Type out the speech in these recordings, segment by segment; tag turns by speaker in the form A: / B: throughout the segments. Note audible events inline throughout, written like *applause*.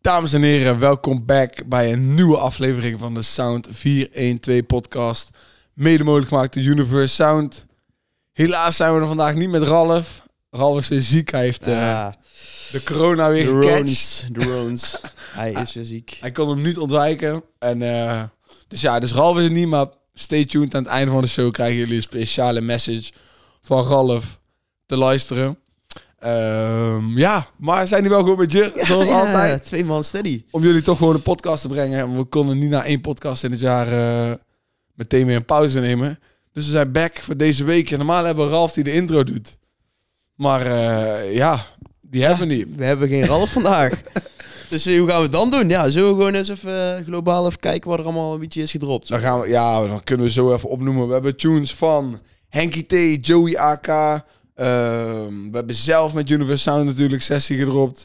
A: Dames en heren, welkom back bij een nieuwe aflevering van de Sound 412 podcast. Mede mogelijk gemaakt door Universe Sound. Helaas zijn we er vandaag niet met Ralf. Ralf is weer ziek. Hij heeft eh,
B: Ah,
A: de corona
B: de
A: weer gecatcht.
B: Rones. De *laughs* Rones. Hij is weer ziek.
A: Hij kon hem niet ontwijken. En, eh, dus ja, dus Ralf is er niet, maar stay tuned. Aan het einde van de show krijgen jullie een speciale message van Ralf te luisteren. Ehm, ja, maar zijn die wel goed met je, zoals
B: Ja,
A: altijd.
B: Twee man steady.
A: om jullie toch gewoon een podcast te brengen. We konden niet na één podcast in het jaar eh, meteen weer een pauze nemen. Dus we zijn back voor deze week. En normaal hebben we Ralf die de intro doet. Maar eh, ja, die hebben we niet.
B: We hebben geen Ralf vandaag. *laughs* Dus eh, hoe gaan we het dan doen? Ja, zullen we gewoon eens even eh, globaal even kijken wat er allemaal een beetje is gedropt?
A: Dan, gaan we, ja, dan kunnen we zo even opnoemen. We hebben tunes van Henky T, Joey AK. ehm, we hebben zelf met Universal Sound natuurlijk sessie gedropt.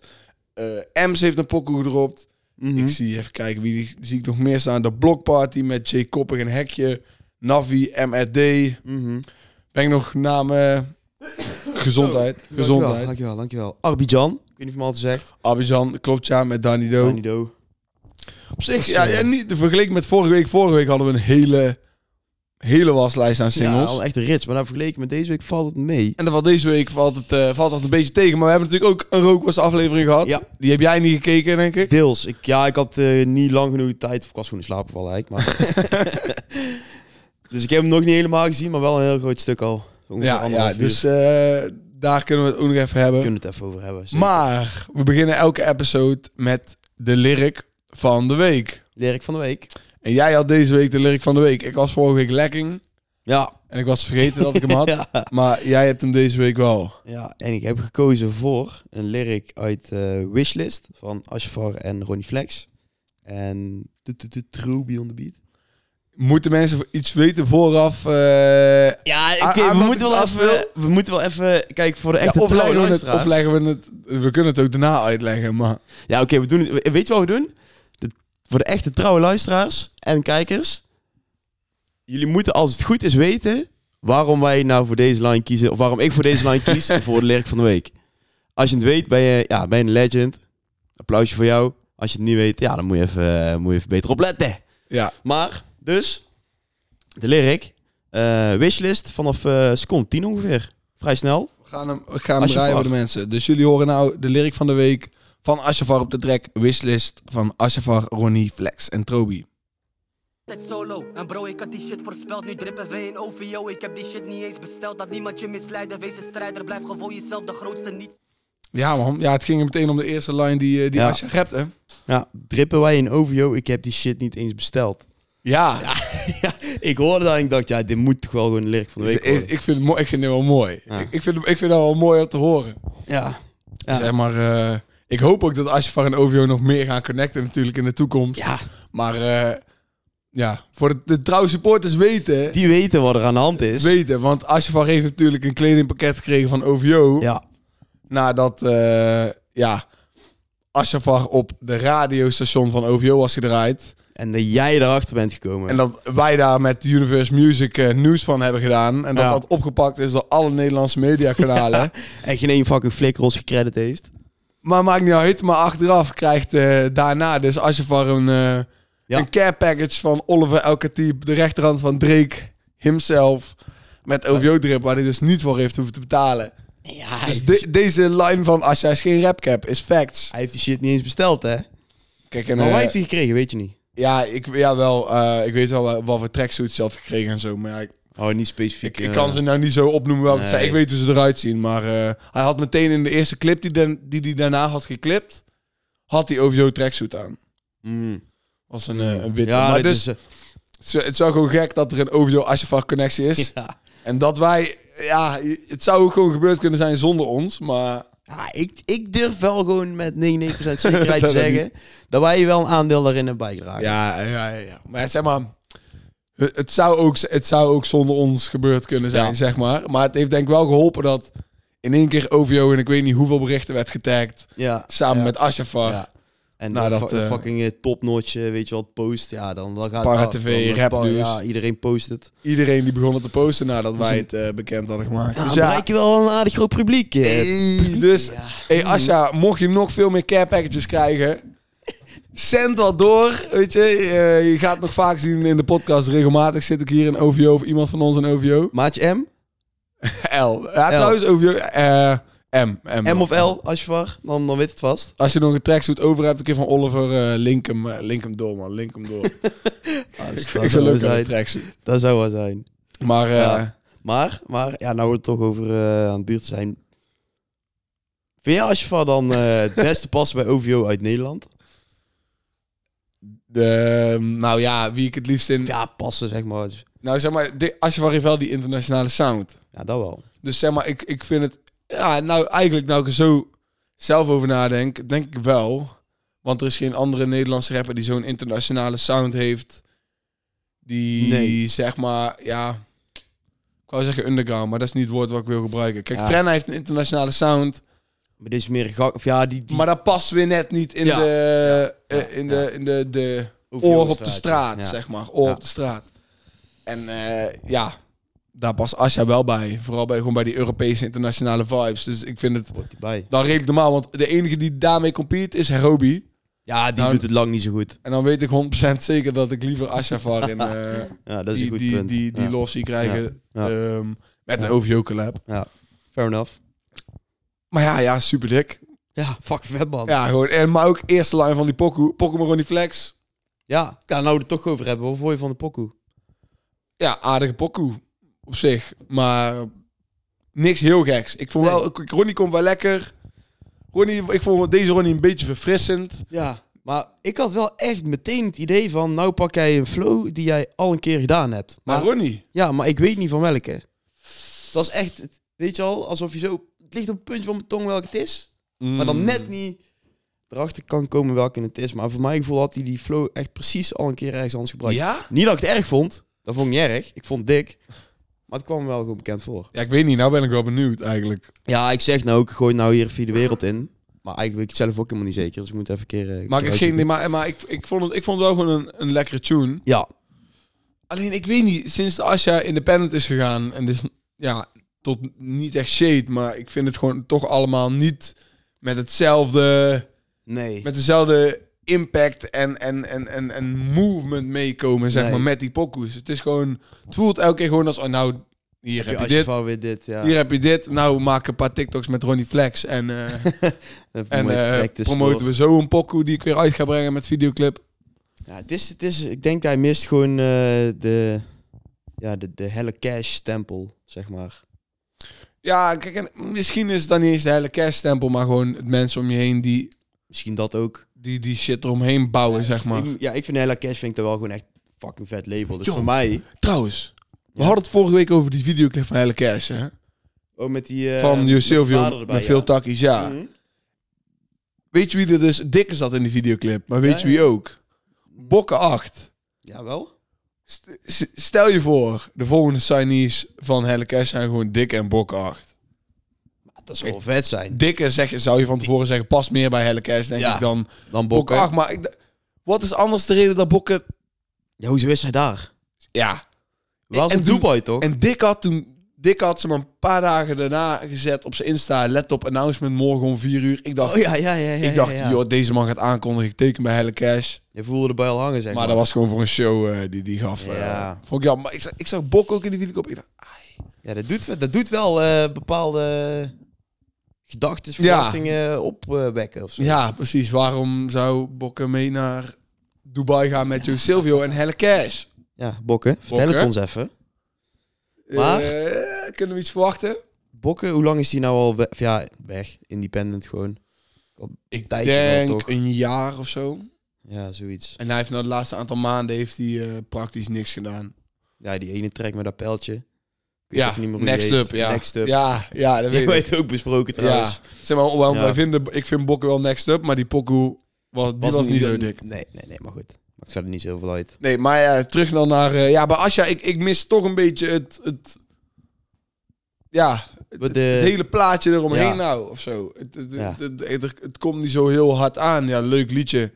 A: Eh, Ems heeft een pokoe gedropt.
B: Mhm.
A: Ik zie even kijken wie zie ik nog meer staan. De Blokparty met Jay Koppig en Hekje. Navi, MRD.
B: Mhm.
A: Ben ik nog namen. Gezondheid.
B: Dankjewel,
A: gezondheid.
B: dankjewel, dankjewel. Arbidjan. Ik weet niet of je hem altijd zegt.
A: Abidjan, klopt ja, met Danny Do.
B: Danny Do.
A: Op zich, ja, ja, niet vergeleken met vorige week. Vorige week hadden we een hele, hele waslijst aan
B: Ja,
A: singles.
B: al echt een rits. Maar nou, vergeleken met deze week valt het mee.
A: en dan valt deze week valt het, eh, valt het een beetje tegen. Maar we hebben natuurlijk ook een rookworst aflevering gehad.
B: Ja.
A: Die heb jij niet gekeken, denk ik.
B: Deels. Ik, ja, ik had eh, niet lang genoeg de tijd. Of ik was gewoon in slaap gevallen
A: *laughs*
B: eigenlijk. Maar *laughs* dus ik heb hem nog niet helemaal gezien, maar wel een heel groot stuk al. Ongeveer
A: Ja, ja
B: anderhalf uur.
A: dus eh, daar kunnen we het ook nog even hebben.
B: We kunnen het even over hebben. zeker.
A: Maar we beginnen elke episode met de lyric van de week.
B: Lyric van de week.
A: En jij had deze week de lyric van de week. Ik was vorige week lekking
B: Ja.
A: en ik was vergeten dat ik hem had.
B: *laughs* ja.
A: Maar jij hebt hem deze week wel.
B: Ja, en ik heb gekozen voor een lyric uit eh, Wishlist van Ashfar en Ronnie Flex. En de- de- de True Beyond the Beat.
A: Moeten mensen iets weten vooraf? eh,
B: Ja,
A: oké, we
B: Ah, we,
A: moeten
B: moeten
A: wel
B: wel
A: even-
B: even, we moeten wel even... Kijk, voor de
A: ja,
B: echte
A: of,
B: trouwe
A: leggen we het,
B: luisteraars.
A: of leggen we het... We kunnen het ook daarna uitleggen, maar...
B: Ja, oké, we doen het. we- Weet je wat we doen? De- voor de echte trouwe luisteraars en kijkers. Jullie moeten, als het goed is, weten waarom wij nou voor deze line kiezen. Of waarom ik voor deze line kies en voor de lyric van de week. Als je het weet, ben je, ja, ben je een legend. Applausje voor jou. Als je het niet weet, ja, dan moet je even, eh, moet je even beter opletten.
A: Ja,
B: Maar, dus, de lyric. eh, wishlist vanaf eh seconde 10 ongeveer. Vrij snel.
A: we gaan hem, we gaan hem
B: Ashafar.
A: draaien voor de mensen. Dus jullie horen nou de lyric van de week van Ashafar op de track. Wishlist van Ashafar, Ronnie, Flex en Trobi.
C: Altijd solo, en bro, ik had die shit voorspeld. Nu drippen we in OVO. Ik heb die shit niet eens besteld. Dat niemand je misleiden. Wees een strijder, blijf gewoon jezelf, de grootste niet.
A: Ja man, ja, het ging meteen om de eerste line die, eh, die
B: Ja.
A: Asha repte.
B: Ja, drippen wij in OVO. Ik heb die shit niet eens besteld.
A: Ja,
B: *laughs* ja, ik hoorde dat en ik dacht, ja, dit moet toch wel gewoon de lyric van de
A: Dus
B: week
A: ik,
B: worden.
A: ik, vind het mooi, ik vind het wel mooi.
B: Ja.
A: Ik, ik vind, ik vind het wel mooi om te horen.
B: Ja. Ja.
A: Zeg maar, eh, ik hoop ook dat Ashfar en OVO nog meer gaan connecten natuurlijk in de toekomst.
B: ja,
A: Maar eh, ja, voor de, de trouwe supporters weten,
B: die weten wat er aan de hand is.
A: weten. Want Ashfar heeft natuurlijk een kledingpakket gekregen van OVO.
B: Ja,
A: Nadat, eh ja, Ashfar op de radiostation van OVO was gedraaid.
B: en dat jij erachter bent gekomen.
A: En dat wij daar met Universe Music eh, nieuws van hebben gedaan. En dat
B: Ja.
A: dat opgepakt is door alle Nederlandse mediakanalen.
B: *laughs* en geen één fucking flikker ons gecredit heeft.
A: Maar maakt niet uit. Maar achteraf krijgt eh, daarna dus Ashafar een, eh,
B: Ja.
A: een care package van Oliver Elkatib, de rechterhand van Drake, himself. Met OVO-drip, waar hij dus niet voor heeft hoeven te betalen.
B: Ja, hij,
A: Dus
B: heeft,
A: de- deze line van Asha is geen rapcap, is facts.
B: hij heeft die shit niet eens besteld, hè.
A: Kijk, en,
B: maar
A: eh,
B: waar heeft hij gekregen, weet je niet.
A: ja, ik, ja, wel, eh, ik weet wel wa- wat voor tracksuits ze had gekregen en zo. Maar ja, ik,
B: Oh, niet specifiek.
A: ik, ik kan ze nou niet zo opnoemen welke het zijn.
B: Nee.
A: Ik weet hoe ze eruit zien. Maar eh, hij had meteen in de eerste clip die hij die, die daarna had geklipt, had hij OVO-tracksuit aan. Als een, eh, een witte.
B: Mm. Ja,
A: maar
B: dit
A: dus,
B: is, eh,
A: Het is- Het is wel gewoon gek dat er een OVO Ashafar connectie is.
B: *laughs* ja.
A: En dat wij, ja, het zou ook gewoon gebeurd kunnen zijn zonder ons. Maar
B: Ja, ik, ik durf wel gewoon met 99%
A: *laughs*
B: zekerheid te
A: Dat
B: zeggen dat wij wel een aandeel daarin hebben bijgedragen.
A: ja, ja, ja, ja. Maar zeg maar, het het zou ook, het zou ook zonder ons gebeurd kunnen zijn,
B: Ja.
A: zeg maar. Maar het heeft denk ik wel geholpen dat in één keer OVO en ik weet niet hoeveel berichten werd getagd.
B: ja.
A: Samen
B: Ja.
A: met Ashafar,
B: Ja. En
A: Nou,
B: dat,
A: dat,
B: fu-
A: eh,
B: fucking eh, topnotch, eh, weet je wel, post. Ja, dan, dan gaat
A: Para
B: ah,
A: TV,
B: dan-
A: rap
B: pa-
A: nieuws.
B: Ja, iedereen post het.
A: iedereen die begon het te posten nadat
B: een-
A: wij het eh, bekend hadden gemaakt.
B: Ja,
A: dus
B: dan
A: ja,
B: Nou, bereik je wel een aardig groot publiek. eh.
A: Hey, dus, hey Asja, mocht je nog veel meer care packages krijgen, Zend wat door, weet je. Eh, je gaat nog vaak zien in de podcast. Regelmatig zit ik hier in OVO of iemand van ons in OVO.
B: Maatje M,
A: L. Ja, trouwens, OVO... eh, M, M.
B: M of L, als je var, dan, dan weet het vast.
A: Als je nog een tracksuit over hebt, een keer van Oliver, eh link, hem, eh, link hem door, man. Link
B: *laughs*
A: hem door. ik vind het zo leuk aan de
B: zijn.
A: tracksuit.
B: Dat zou wel zijn.
A: Maar eh,
B: Ja. Maar, maar ja, nou we het toch over eh, aan het buurt zijn. Vind jij Ashvar dan eh,
A: *laughs*
B: het beste passen bij OVO uit Nederland?
A: de, nou ja, wie ik het liefst in...
B: Ja, passen zeg maar.
A: Nou, zeg maar, de- als je van Rivel die internationale sound.
B: Ja, dat wel.
A: Dus zeg maar, ik, ik vind het... Ja, nou eigenlijk, nou ik er zo zelf over nadenk, denk ik wel. Want er is geen andere Nederlandse rapper die zo'n internationale sound heeft. Die
B: Nee.
A: zeg maar, ja... Ik wou zeggen underground, maar dat is niet het woord wat ik wil gebruiken. Kijk,
B: Ja.
A: Frenna heeft een internationale sound.
B: Maar dit is meer gak... Of ja, die, die
A: Maar dat past weer net niet in
B: Ja.
A: de,
B: Ja.
A: eh, in de, in de, de
B: OVO
A: oor op de
B: straatje.
A: straat,
B: Ja.
A: zeg maar. Oor
B: Ja.
A: op de straat. En eh, ja, daar past Asja wel bij. Vooral bij, gewoon bij die Europese internationale vibes. Dus ik vind het
B: Wordt die bij.
A: dan redelijk normaal. Want de enige die daarmee compete is Herobi.
B: Ja, die
A: Nou,
B: doet het lang niet zo goed.
A: En dan weet ik 100% zeker dat ik liever Asja var
B: *laughs*
A: in eh,
B: Ja, dat is een
A: die,
B: goed
A: die,
B: punt.
A: die, die
B: ja.
A: lof zie krijgen.
B: Ja.
A: ehm, met
B: Ja.
A: een OVO-collab.
B: Ja, fair enough.
A: Maar ja, ja, super dik.
B: Ja, fuck vet man. Ja.
A: Ja, gewoon. En, maar ook eerste line van die pokoe. Pokoe maar gewoon die flex.
B: ja, ik kan nou er toch over hebben. Wat vond je van de pokoe?
A: ja, aardige pokoe op zich. Maar niks heel geks. Ik vond
B: Nee.
A: wel, ik- Ronnie komt wel lekker. Ronnie, ik vond deze Ronnie een beetje verfrissend.
B: Ja, maar ik had wel echt meteen het idee van... Nou pak jij een flow die jij al een keer gedaan hebt.
A: Maar
B: Maar,
A: Ronnie,
B: ja, maar ik weet niet van welke. Het was echt, het- weet je al, alsof je zo... Het ligt op het puntje van mijn tong welke het is. Mm. Maar dan net niet erachter kan komen welke het is. Maar voor mijn gevoel had hij die flow echt precies al een keer ergens anders gebruikt.
A: Ja?
B: Niet dat ik het erg vond. Dat vond ik niet erg. Ik vond het dik. Maar het kwam me wel gewoon bekend voor.
A: Ja, ik weet niet. Nou ben ik wel benieuwd eigenlijk.
B: Ja, ik zeg nou ook, ik gooi nou hier via de wereld in. Maar eigenlijk weet ik het zelf ook helemaal niet zeker. Dus ik moet even een keer... eh,
A: Maar, ik,
B: keer
A: geen,
B: uitzoeken.
A: maar, maar ik, ik, vond het, ik vond het wel gewoon een, een lekkere tune.
B: Ja,
A: Alleen ik weet niet, sinds Asja independent is gegaan en dus ja, tot niet echt shade, maar ik vind het gewoon toch allemaal niet met hetzelfde
B: nee.
A: met dezelfde impact en, en, en, en, en movement meekomen, zeg
B: Nee.
A: maar, met die pokoes. Het is gewoon, het voelt elke keer gewoon als, oh, nou, hier heb,
B: Als
A: je dit,
B: vouw weer dit, ja.
A: hier heb je dit, nou, maak een paar TikToks met Ronnie Flex en, eh,
B: *laughs* Dan
A: en
B: promote je
A: eh,
B: direct de
A: promoten
B: store.
A: we zo een pokoe die ik weer uit ga brengen met videoclip.
B: Ja, het is, het is, ik denk hij mist gewoon eh, de, ja, de, de helle cash stempel, zeg maar.
A: Ja, kijk, en misschien is het dan niet eens de hele kerststempel, maar gewoon het mensen om je heen die,
B: Misschien dat ook.
A: die, die shit eromheen bouwen, zeg maar.
B: Ik- ja, ik vind helle cash vind ik dat wel gewoon echt fucking vet label. Dus
A: Yo.
B: voor mij,
A: Trouwens, we
B: Ja.
A: hadden het vorige week over die videoclip van Hele Kerst, hè?
B: ook met die... eh,
A: Van Jo
B: met die
A: Silvio
B: vader
A: met
B: erbij,
A: veel
B: ja.
A: takkies, ja.
B: Mhm.
A: Weet je wie er dus dikker zat in die videoclip? Maar weet je
B: Ja,
A: wie ook? Bokke 8.
B: Ja, wel.
A: St- s- Stel je voor, de volgende signees van Helle Cash zijn gewoon Dikke en Bokke 8.
B: Dat zou wel vet zijn.
A: Dikke zeg, je- zou je van tevoren zeggen, past meer bij Helle Cash, denk
B: Ja.
A: ik, dan Bokke
B: Dan Bokker.
A: 8. Maar ik d- wat is anders de reden dat Bokke...
B: Ja, hoezo is hij daar?
A: Ja.
B: Wel
A: En
B: in
A: toen-
B: Dubai, toch?
A: En Dick had toen... Dick had ze maar een paar dagen daarna gezet op zijn Insta. Laptop announcement morgen om 4 uur. Ik dacht,
B: Oh ja, ja, ja. ja,
A: ik dacht
B: ja, ja.
A: joh, deze man gaat aankondigen. Ik teken bij Helle Cash.
B: Je voelde de al hangen,
A: Maar
B: zeg maar.
A: dat was gewoon voor een show eh, die die gaf. eh,
B: Ja.
A: vond ik jammer. Maar ik zag, ik zag Bok ook in die videoclip. Ik dacht,
B: Ja, dat doet, dat doet wel eh, bepaalde gedachten, verwachtingen eh, opwekken of zo.
A: ja, precies. Waarom zou Bokke mee naar Dubai gaan met Jo Silvio en Helle Cash?
B: Ja, Bokken, vertel
A: Bokken.
B: het ons even. Maar-
A: Eh, kunnen we iets verwachten?
B: Bokken, hoe lang is die nou al weg? Ja, weg. Independent gewoon.
A: Ik
B: Tijdje wel,
A: denk
B: toch?
A: een jaar of zo.
B: Ja, zoiets.
A: En hij heeft nou de laatste aantal maanden heeft hij, eh, praktisch niks gedaan.
B: Ja, die ene trek met dat pijltje. Ik weet
A: Ja,
B: even niet meer hoe die
A: next
B: heet.
A: up, ja.
B: Next up.
A: Ja, ja dat
B: *laughs* Die
A: weet ik.
B: werd ook besproken
A: Ja.
B: trouwens.
A: Zeg maar, waarom
B: Ja.
A: wij vinden, ik vind Bokke wel next up, maar die Poku was, die was, niet zo dik.
B: Nee, nee, nee, maar goed. Maakt verder niet zoveel uit.
A: Nee, maar ja, terug dan naar... eh, ja, bij Asja, ik, ik mis toch een beetje het... het ja, het,
B: Wat de-
A: het hele plaatje eromheen
B: Ja.
A: nou, of zo. Het, het,
B: Ja.
A: het, het- het- het komt niet zo heel hard aan. Ja, leuk liedje.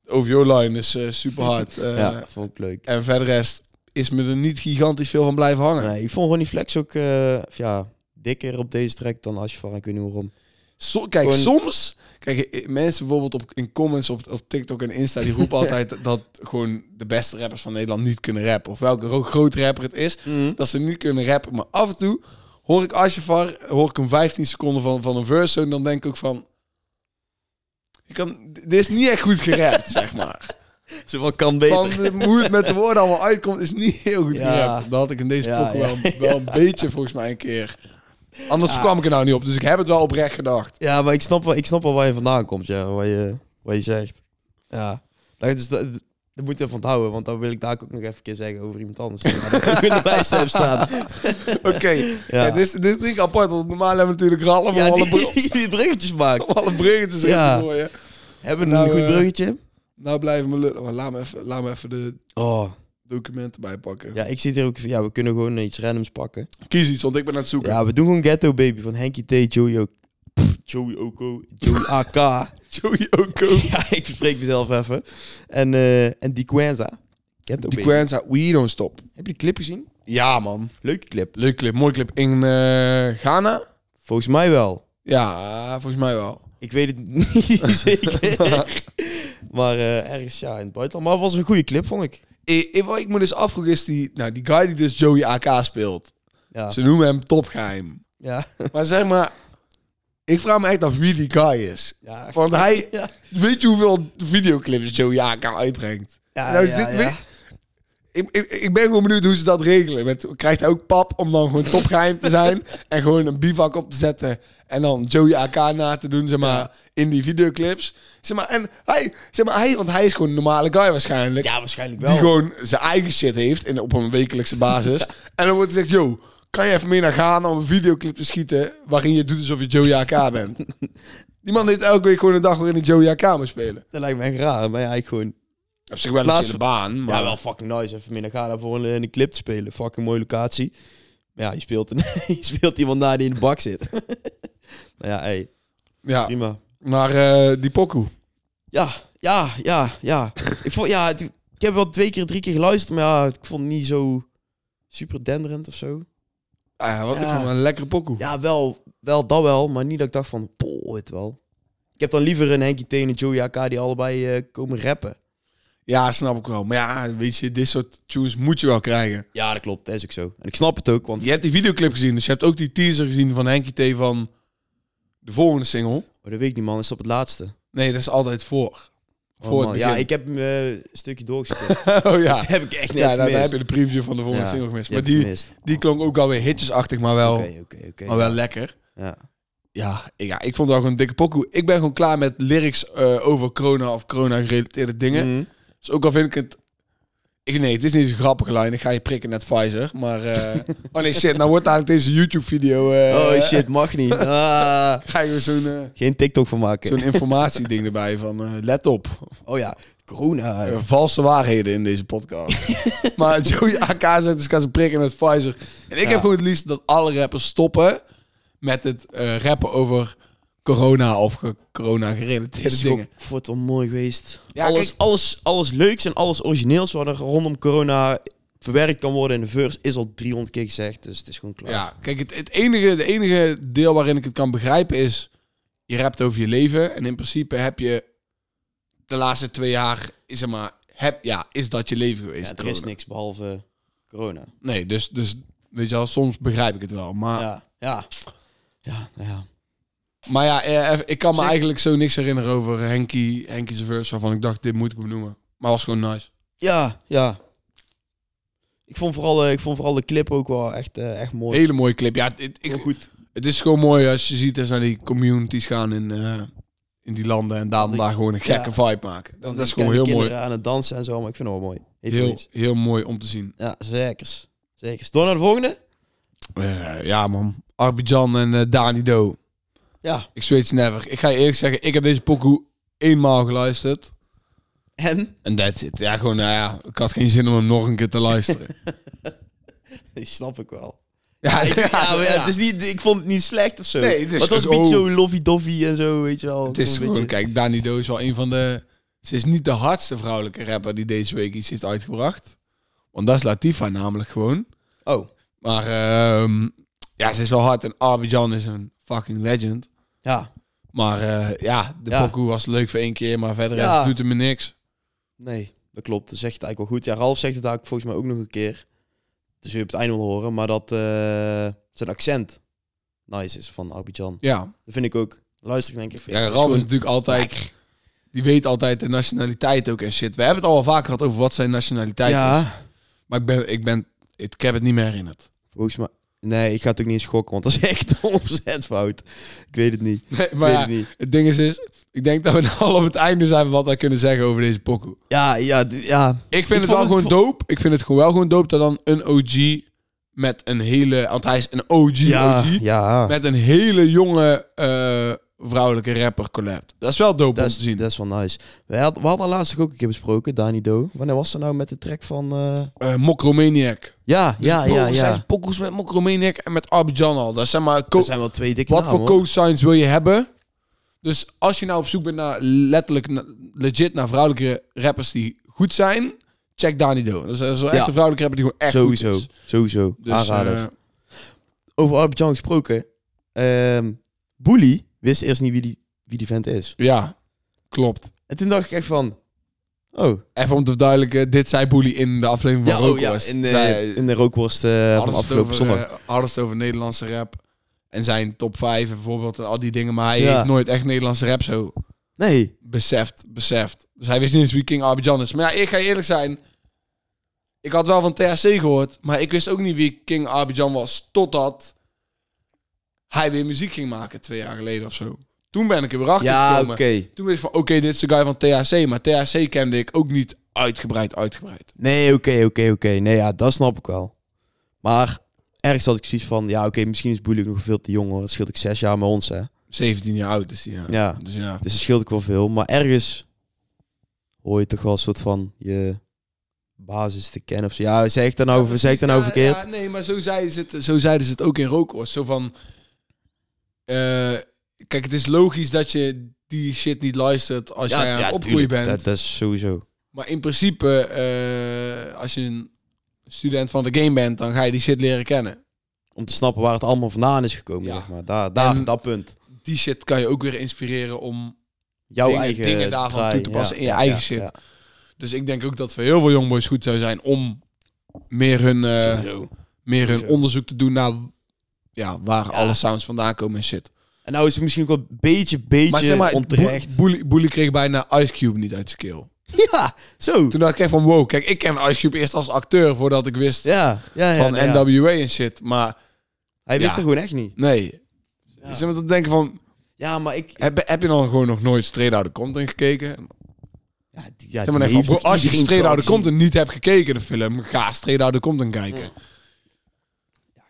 A: De OVO-line is super hard.
B: *laughs* ja, vond ik leuk.
A: En verder rest is me er niet gigantisch veel van blijven
B: *laughs*
A: hangen.
B: Nee, ik vond Ronnie Flex ook eh, ja, dikker op deze track dan Ashvar. Ik weet niet waarom.
A: So- kijk,
B: Gewoon-
A: soms... Kijk, eh, mensen bijvoorbeeld op, in comments op, op TikTok en Insta... die
B: *laughs*
A: roepen altijd dat gewoon de beste rappers van Nederland niet kunnen rappen. Of welke ro- grote rapper het is,
B: Mhm.
A: dat ze niet kunnen rappen. Maar af en toe hoor ik Asjefar, hoor ik hem 15 seconden van, van een verse... en dan denk ik ook van... Je kan, dit is niet echt goed
B: *laughs*
A: gerapt, zeg maar.
B: Ze wel kan beter.
A: Van eh, hoe het met de woorden allemaal uitkomt, is niet heel goed
B: Ja.
A: gerapt. Dat had ik in deze
B: Ja,
A: pokoe
B: ja,
A: wel, wel een beetje volgens mij een keer. Anders kwam ik er nou niet op, dus ik heb het wel oprecht gedacht.
B: Ja, maar ik snap, wel, ik snap wel waar je vandaan komt, ja. Waar je, waar je zegt. Ja. Nou, dus dat, dat moet je even onthouden, want dan wil ik daar ook nog even een keer zeggen over iemand *laughs* anders. Maar dat ik in de lijst heb *laughs* staan.
A: Oké, *laughs* ja, dit, is- dit is niet apart, want normaal hebben we natuurlijk rallen
B: Ja,
A: ja, alle, br-
B: *laughs* die, die bruggetjes maken.
A: *laughs*
B: *laughs*
A: alle bruggetjes
B: Ja.
A: ja. voor je.
B: Hebben we
A: Nou,
B: een goed
A: eh,
B: bruggetje?
A: Nou blijven we lullen, maar laat me even, laat me even de
B: Oh.
A: documenten bijpakken.
B: Ja, ik zit hier ook... Ja, we kunnen gewoon iets randoms pakken.
A: Kies iets, want ik ben aan het zoeken.
B: Ja, we doen gewoon Ghetto Baby van Henky T, Joey O... Pff, Joey Oko, Joey AK.
A: *laughs* Joey Oko.
B: *laughs* ja, ik spreek mezelf even. En, eh en Die Quenza. Ghetto
A: Die
B: Baby.
A: Quenza, we don't stop.
B: Heb je die clip gezien?
A: Ja man,
B: Leuke clip.
A: leuk clip, mooi clip. In eh, Ghana?
B: Volgens mij wel.
A: Ja, volgens mij wel.
B: Ik weet
A: *laughs*
B: het *laughs* niet zeker. maar eh, ergens ja, in het buitenland. Maar het was een goede clip, vond ik.
A: Ik, ik, wat ik me dus afvroeg is die, nou, die guy die dus Joey AK speelt.
B: Ja.
A: Ze noemen hem topgeheim.
B: Ja. *laughs*
A: Maar zeg maar, ik vraag me echt af wie die guy is.
B: Ja.
A: Want hij,
B: *laughs* Ja.
A: weet je hoeveel videoclips Joey AK uitbrengt?
B: Ja,
A: Nou,
B: ja,
A: zit-
B: ja.
A: weet- ik, ik, ik ben gewoon benieuwd hoe ze dat regelen. Met, krijgt hij ook pap om dan gewoon topgeheim te
B: *laughs*
A: zijn en gewoon een bivak op te zetten en dan Joey AK na te doen, zeg maar, in die videoclips. Zeg maar, en hij, zeg maar, hij, want hij is gewoon een normale guy waarschijnlijk.
B: Ja, waarschijnlijk
A: Die
B: wel.
A: gewoon zijn eigen shit heeft in, op een wekelijkse basis. *laughs* En dan wordt gezegd, yo, kan je even mee naar Ghana om een videoclip te schieten... waarin je doet alsof je Joey AK *laughs* bent. Die man heeft elke week gewoon een dag waarin hij Joey AK moet spelen.
B: Dat lijkt me echt raar, maar ja, ik gewoon...
A: Op zich wel een
B: Plaats-
A: chille baan, maar...
B: Ja, wel fucking nice. Even meer naar Ghana voor een, een clip te spelen. Fucking mooie locatie. Maar ja, je speelt, *laughs* een, je speelt iemand na die in de bak zit. *laughs* nou ja, hey,
A: Ja,
B: prima.
A: maar eh, die pokoe.
B: Ja, ja, ja, ja. ik, vond, ja het- ik heb wel twee keer, drie keer geluisterd, maar ja, ik vond het niet zo super denderend of zo.
A: Ah, ja, wat
B: Ja.
A: ik vond het een lekkere pokoe.
B: Ja, wel, wel, dat wel. Maar niet dat ik dacht van, poh, het wel. Ik heb dan liever een Henkie T en een Joey AK die allebei eh, komen rappen.
A: Ja, snap ik wel. Maar ja, weet je, dit soort tunes moet je wel krijgen.
B: Ja, dat klopt. Dat is ook zo. En ik snap het ook, want...
A: Je hebt die videoclip gezien, dus je hebt ook die teaser gezien van Henkie T van de volgende single.
B: Oh, dat weet ik niet, man. Is dat het laatste?
A: Nee, dat is altijd voor.
B: Oh,
A: voor
B: man.
A: het
B: ja,
A: begin.
B: ik heb hem eh, een stukje doorgespeeld.
A: *laughs* oh ja.
B: Dus dat heb ik echt net
A: Ja, dan,
B: gemist.
A: heb je de preview van de volgende
B: Ja,
A: single gemist.
B: die
A: Maar
B: heb ik
A: die,
B: gemist.
A: die klonk ook alweer hitjesachtig, maar wel,
B: Oké, oké, oké.
A: maar wel lekker.
B: Ja.
A: Ja ik, ja, ik vond het wel gewoon een dikke pokoe. Ik ben gewoon klaar met lyrics eh, over corona of corona-gerelateerde dingen.
B: Mhm.
A: Dus ook al vind ik het... Ik, nee, het is niet zo'n grappige lijn. Ik ga je prikken net Pfizer. Maar... eh,
B: *laughs*
A: oh nee, shit. Nou wordt eigenlijk deze YouTube-video... eh,
B: Oh, shit, mag niet. *laughs* Ah.
A: *laughs* Ga je weer zo'n eh,
B: Geen TikTok van maken. *laughs*
A: zo'n informatieding erbij van... eh, let op.
B: Oh ja, corona.
A: Eh, valse waarheden in deze
B: *laughs*
A: podcast. maar Joey AK zegt dus gaat ze prikken met Pfizer. En ik
B: Ja.
A: heb gewoon het liefst dat alle rappers stoppen met het eh, rappen over corona of ge- corona-gerelateerde
B: is gewoon-
A: dingen.
B: Voor het wel mooi geweest.
A: Ja,
B: alles,
A: kijk-
B: alles, alles leuks en alles origineels wat er rondom corona verwerkt kan worden in de verse is al 300 keer gezegd. Dus het is gewoon klaar.
A: Ja, kijk, het, het enige, de enige deel waarin ik het kan begrijpen is... je rapt over je leven en in principe heb je de laatste twee jaar... is zeg maar, heb, ja, is dat je leven
B: Ja,
A: geweest.
B: er is
A: corona.
B: niks behalve corona.
A: Nee, dus, dus weet je wel, soms begrijp ik het wel. Maar
B: Ja, ja. Ja, nou ja.
A: Maar ja, eh, eh, ik kan me
B: Zeg-
A: eigenlijk zo niks herinneren over Henkie, Henkie's verse waarvan ik dacht, dit moet ik benoemen. Maar was gewoon nice.
B: Ja, ja. Ik vond vooral, eh, ik vond vooral de clip ook wel echt, eh, echt mooi.
A: Hele mooie clip. Ja, het, het- ik,
B: Heel goed.
A: het is gewoon mooi als je ziet als naar die communities gaan in, eh, in die landen en daarom
B: Die-
A: daar gewoon een gekke vibe maken. Dat, is gewoon heel mooi.
B: aan het dansen en zo, maar ik vind het wel mooi. Heeft wel
A: Heel,
B: iets.
A: heel mooi om te zien.
B: Ja, zekers. Zekers. Door naar de volgende?
A: Eh, ja man, Arbidjan en eh, Dani Do.
B: Ja.
A: Ik zweet je never. Ik ga je eerlijk zeggen, ik heb deze pokoe eenmaal geluisterd.
B: En? *laughs*
A: En that's it. Ja, gewoon, nou ja, ik had geen zin om hem nog een keer te
B: *laughs*
A: luisteren.
B: Die snap ik
A: *laughs*
B: wel.
A: ja,
B: Ja, maar ja,
A: ja.
B: het is niet, ik vond het niet slecht of zo.
A: Nee, het is
B: Maar was een
A: gewoon-
B: beetje zo lovey-dovey en zo, weet je wel.
A: Het is
B: Een
A: gewoon,
B: beetje-
A: kijk, Dani Do is wel een van de... Ze is niet de hardste vrouwelijke rapper die deze week iets heeft uitgebracht. Want dat is Latifa namelijk gewoon.
B: Oh,
A: Maar ehm, ja, ze is wel hard en Arbidjan is een fucking legend.
B: ja.
A: Maar eh, ja, de
B: Ja.
A: pokoe was leuk voor één keer, maar verder
B: Ja.
A: is, doet het me niks.
B: Nee, dat klopt. Dat zegt het eigenlijk wel goed. Ja, Ralf zegt het eigenlijk volgens mij ook nog een keer. Dus je hebt het einde wel horen. Maar dat eh, zijn accent nice is van Abidjan.
A: Ja,
B: Dat vind ik ook. Luister ik denk ik. vind
A: ja
B: ik
A: Ralf is
B: gewoon-
A: natuurlijk altijd... Die weet altijd de nationaliteit ook en shit. We hebben het al wel vaker gehad over wat zijn nationaliteit is.
B: Ja,
A: Maar ik, ben, ik, ben, ik heb het niet meer herinnerd.
B: volgens mij. Nee, ik ga het ook niet eens gokken, want dat is *laughs* echt 100% fout. Ik weet het niet. Ik
A: *laughs* Nee, maar
B: weet
A: ja,
B: het niet.
A: het ding is, is, ik denk dat we *laughs* nou al op het einde zijn van wat wij kunnen zeggen over deze pokoe.
B: Ja, ja, d- ja.
A: Ik vind het
B: Ik vond
A: wel
B: het-
A: gewoon dope. Ik vind het gewoon wel gewoon dope dat dan een OG met een hele... Want hij is een OG,
B: Ja,
A: OG.
B: ja.
A: Met een hele jonge eh, vrouwelijke rapper collab. Dat is wel dope
B: Dat
A: om
B: is,
A: te zien.
B: dat is wel nice. We, had- we hadden laatst ook een keer besproken, Dani Do. Wanneer was dat nou met de track van... eh,
A: Eh, Mokromaniac.
B: Ja,
A: Dus
B: ja,
A: bro,
B: ja,
A: er
B: ja.
A: zijn pokkels met Mokromaniac en met Abidjan al. Dat zijn maar co-
B: Dat zijn wel twee dikke
A: wat
B: namen,
A: voor
B: hoor.
A: co-signs wil je hebben? Dus als je nou op zoek bent naar letterlijk na- legit naar vrouwelijke rappers die goed zijn, check Dani Do. Dat is, dat is wel echt
B: Ja.
A: een vrouwelijke rapper die gewoon echt
B: Sowieso,
A: goed is.
B: sowieso.
A: Dus
B: Aanrader.
A: eh,
B: Over Abidjan gesproken. ehm Boelie wist eerst niet wie die, wie die vent is.
A: ja, klopt.
B: En toen dacht ik echt van... Oh,
A: Even om te verduidelijken, dit zei Boelie in de aflevering van
B: ja, oh, ja
A: Rookwest.
B: in, de,
A: Zij-
B: in de rookworst eh, van
A: Hadden ze het
B: afgelopen
A: over,
B: zondag.
A: eh, hadden ze het over Nederlandse rap. En zijn top 5 en bijvoorbeeld en al die dingen. Maar hij
B: Ja.
A: heeft nooit echt Nederlandse rap zo
B: nee,
A: beseft. beseft. Dus hij wist niet eens wie King Abidjan is. Maar ja, ik ga je eerlijk zijn. Ik had wel van THC gehoord. Maar ik wist ook niet wie King Abidjan was. Totdat hij weer muziek ging maken twee jaar geleden of zo. Toen ben ik er weer achter
B: ja, oké.
A: gekomen. Toen wist ik van, oké, dit is de guy van THC. Maar THC kende ik ook niet uitgebreid, uitgebreid.
B: Nee, oké, oké, oké. Nee, ja, dat snap ik wel. Maar ergens had ik zoiets van... Ja, oké, misschien is Boelie ook nog veel te jong hoor. Het scheelt ik zes jaar met ons, hè.
A: 17 jaar oud is hij, ja.
B: Ja.
A: Dus ja.
B: Dus dat scheelt ook wel veel. Maar ergens hoor je toch wel een soort van je basis te kennen. Of zo. Ja, zeg ik daar nou, over, zeg ik daar nou
A: Ja,
B: verkeerd?
A: ja, nee, maar zo zeiden ze het, zo zeiden ze het ook in Rookworst. Zo van... eh, kijk, het is logisch dat je die shit niet luistert als jij aan het opgroeien
B: tuurlijk.
A: bent.
B: Dat, dat is sowieso.
A: Maar in principe, eh, als je een student van de game bent, dan ga je die shit leren kennen.
B: Om te snappen waar het allemaal vandaan is gekomen,
A: Ja.
B: zeg maar. Daar, daar
A: En-
B: dat punt.
A: Die shit kan je ook weer inspireren om...
B: Jouw
A: dingen-
B: eigen
A: dingen daarvan
B: draai,
A: toe te passen in je eigen shit.
B: Ja.
A: Dus ik denk ook dat het voor heel veel jongboys goed zou zijn om meer hun, eh,
B: Sowieso.
A: meer hun
B: Sowieso.
A: onderzoek te doen naar ja, waar alle sounds vandaan komen en shit.
B: En nou is het misschien ook wel een beetje, beetje
A: Maar zeg maar,
B: onterecht.
A: Bo- Boelie, Boelie kreeg bijna Ice Cube niet uit zijn keel.
B: *laughs* ja, zo.
A: Toen dacht ik echt van, wow, kijk, ik ken Ice Cube eerst als acteur voordat ik wist
B: Ja, ja, ja.
A: van
B: nou ja.
A: NWA en shit. Maar
B: Hij wist
A: Ja.
B: er gewoon echt niet.
A: nee. Dus je moet dan denken van,
B: Ja, maar ik...
A: heb, heb je dan gewoon nog nooit Straight Outta Compton gekeken?
B: Ja, die- ja,
A: Zeg maar
B: die
A: even,
B: heeft
A: bro,
B: toch
A: als je
B: iedereen
A: Straight
B: wel
A: Outta
B: gezien.
A: Compton niet hebt gekeken, de film, ga Straight Outta Compton kijken.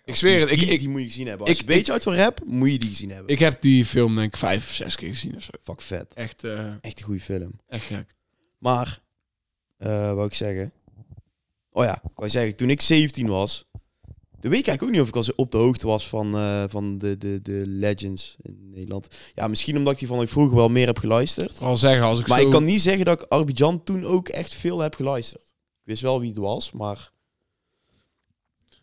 A: Ik zweer het, ik,
B: Dus Die,
A: ik,
B: die moet je gezien hebben.
A: ik-
B: Als je een beetje uit van rap, moet je die gezien hebben.
A: ik heb die film denk ik vijf of zes keer gezien of zo.
B: Fuck vet.
A: Echt, eh,
B: Echt een goede film.
A: echt gek.
B: Maar, eh wou ik zeggen... Oh ja, ik wou zeggen, toen ik 17 was... Dan weet ik eigenlijk ook niet of ik al zo op de hoogte was van, eh, van de, de, de legends in Nederland. Ja, misschien omdat ik die van vroeger wel meer heb geluisterd.
A: Ik zal zeggen, als ik
B: Maar
A: zo...
B: ik kan niet zeggen dat ik Arbidjan toen ook echt veel heb geluisterd. Ik wist wel wie het was, maar...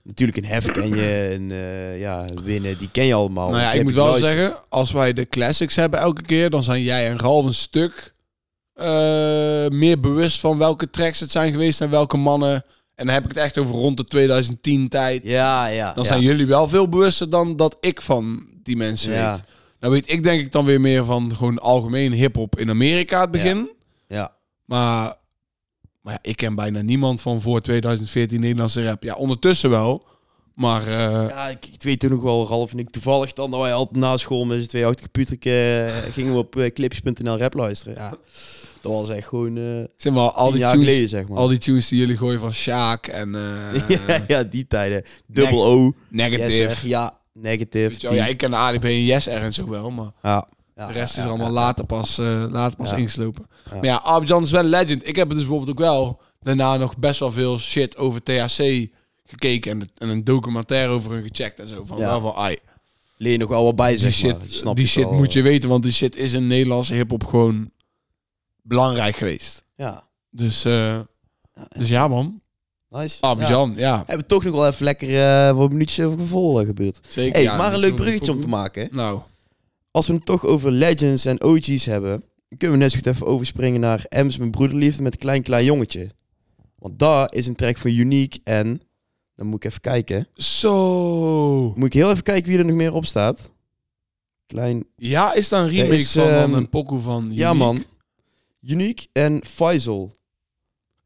B: Natuurlijk, een hef ken
A: *clears throat*
B: je, een eh, ja, winnen, die ken je allemaal.
A: Nou ja,
B: Die
A: ik moet
B: heb
A: wel
B: geluisterd.
A: zeggen, als wij de classics hebben elke keer, dan zijn jij en Ralf een stuk eh, meer bewust van welke tracks het zijn geweest en welke mannen. En dan heb ik het echt over rond de 2010 tijd.
B: Ja, ja.
A: Dan
B: ja.
A: zijn jullie wel veel bewuster dan dat ik van die mensen
B: Ja.
A: weet. Nou weet ik denk ik dan weer meer van gewoon algemeen hip-hop in Amerika het begin.
B: Ja.
A: Maar, maar ja, ik ken bijna niemand van voor 2014 Nederlandse rap. Ja, ondertussen wel. Maar eh,
B: Ja, ik, ik weet toen nog wel, Ralf en ik toevallig dan, dat wij altijd na school met z'n twee achter computer gingen we op eh, clips.nl rap luisteren. Ja, dat was echt gewoon eh *laughs*
A: zeg maar, al
B: al
A: die
B: jaar
A: tunes
B: geleden, zeg maar.
A: Al die tunes die jullie gooien van Sjaak en eh,
B: *laughs* ja, ja, die tijden. Dubbel O.
A: Negative.
B: Yes, R, ja, negative.
A: Weet je wel,
B: die-
A: ja, ik ken de ADP en Yes ergens ook wel, maar
B: ja, ja,
A: de rest
B: ja,
A: is
B: ja,
A: er allemaal
B: ja.
A: later pas, eh, later pas
B: Ja.
A: ingeslopen.
B: Ja.
A: Maar ja, Abidjan is wel een legend. Ik heb het dus bijvoorbeeld ook wel daarna nog best wel veel shit over THC gekeken en, en een documentaire over hun gecheckt en zo. Van
B: Ja.
A: wel van, ai,
B: Leer je nog wel wat bij,
A: die
B: zeg
A: shit,
B: maar. Je snapt
A: die
B: het
A: shit
B: wel.
A: moet je weten, want die shit is in Nederlandse hiphop gewoon belangrijk geweest.
B: Ja,
A: Dus, eh, dus ja man,
B: nice.
A: Ah,
B: Ja.
A: Abidjan, ja.
B: Hebben we toch nog wel even lekker eh wat minuutjes over gebeurd.
A: Zeker.
B: hey,
A: ja,
B: maar
A: dat
B: een
A: is
B: leuk
A: wel
B: bruggetje om te
A: pokoe.
B: maken.
A: Nou,
B: als we het toch over legends en OG's hebben, dan kunnen we net zo goed even overspringen naar Ems, mijn broederliefde met Klein Klein Jongetje. Want daar is een track van Unique en, dan moet ik even kijken.
A: Zo.
B: Moet ik heel even kijken wie er nog meer op staat. Klein,
A: Ja, is daar een remake
B: Er is,
A: van dan
B: ehm,
A: een pokoe van
B: ja
A: Unique?
B: man. Unique en Faisal.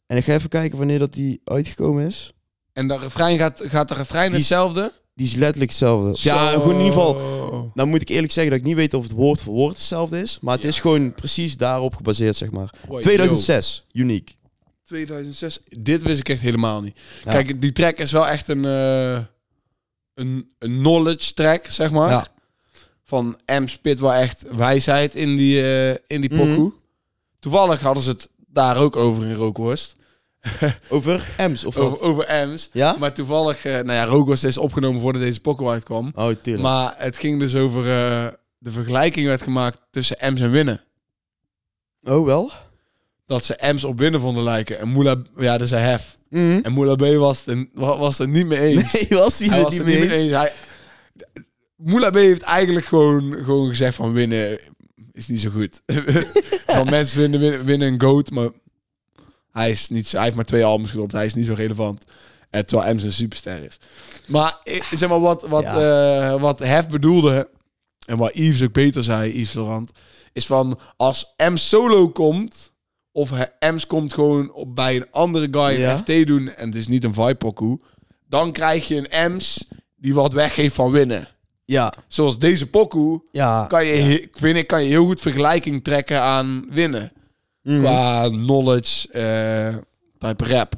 B: En ik ga even kijken wanneer dat die uitgekomen is.
A: En de refrein gaat, gaat de refrein
B: Die is-
A: hetzelfde?
B: Die is letterlijk hetzelfde. Ja,
A: Zo.
B: gewoon in ieder geval. Nou moet ik eerlijk zeggen dat ik niet weet of het woord voor woord hetzelfde is. Maar het
A: Ja.
B: is gewoon precies daarop gebaseerd, zeg maar.
A: Hoi,
B: 2006, uniek.
A: yo. 2006. Dit wist ik echt helemaal niet.
B: Ja.
A: Kijk, die track is wel echt een, eh, een, een knowledge track, zeg maar.
B: Ja.
A: Van M spit wel echt wijsheid in die, eh, in die pokoe.
B: Mhm.
A: Toevallig hadden ze het daar ook over in Rookworst.
B: Over M's of wat?
A: Over, over M's.
B: Ja?
A: Maar toevallig, eh, nou ja, Rookworst is opgenomen voordat deze pokoe uitkwam.
B: Oh, tuurlijk.
A: Maar het ging dus over... eh, de vergelijking werd gemaakt tussen M's en winnen.
B: oh, wel?
A: dat ze M's op winnen vonden lijken. En Moula, ja, dat is een hef. *laughs*
B: Mhm.
A: En Moula B was het, en- wa- was het niet mee eens.
B: Nee, was hij
A: Hij
B: er
A: was
B: niet
A: het
B: mee eens?
A: Hij, Moula B heeft eigenlijk gewoon, gewoon gezegd van winnen is niet zo goed. *laughs* van mensen vinden winnen, winnen een goat, maar hij, is niet, zo- hij heeft maar twee albums gedropt. Hij is niet zo relevant. En terwijl M's een superster is. Maar eh, zeg maar, wat, wat, eh, wat Hef bedoelde, en wat Yves ook beter zei, Yves Laurent, is van als M solo komt, of he- M's komt gewoon op, bij een andere guy
B: Ja.
A: een FT doen, en het is niet een vibe dan krijg je een M's die wat weggeeft van winnen.
B: Ja,
A: Zoals deze pokoe,
B: ja.
A: kan je, he- vind ik, kan je heel goed vergelijking trekken aan winnen.
B: Mhm.
A: Qua knowledge, eh, type rap.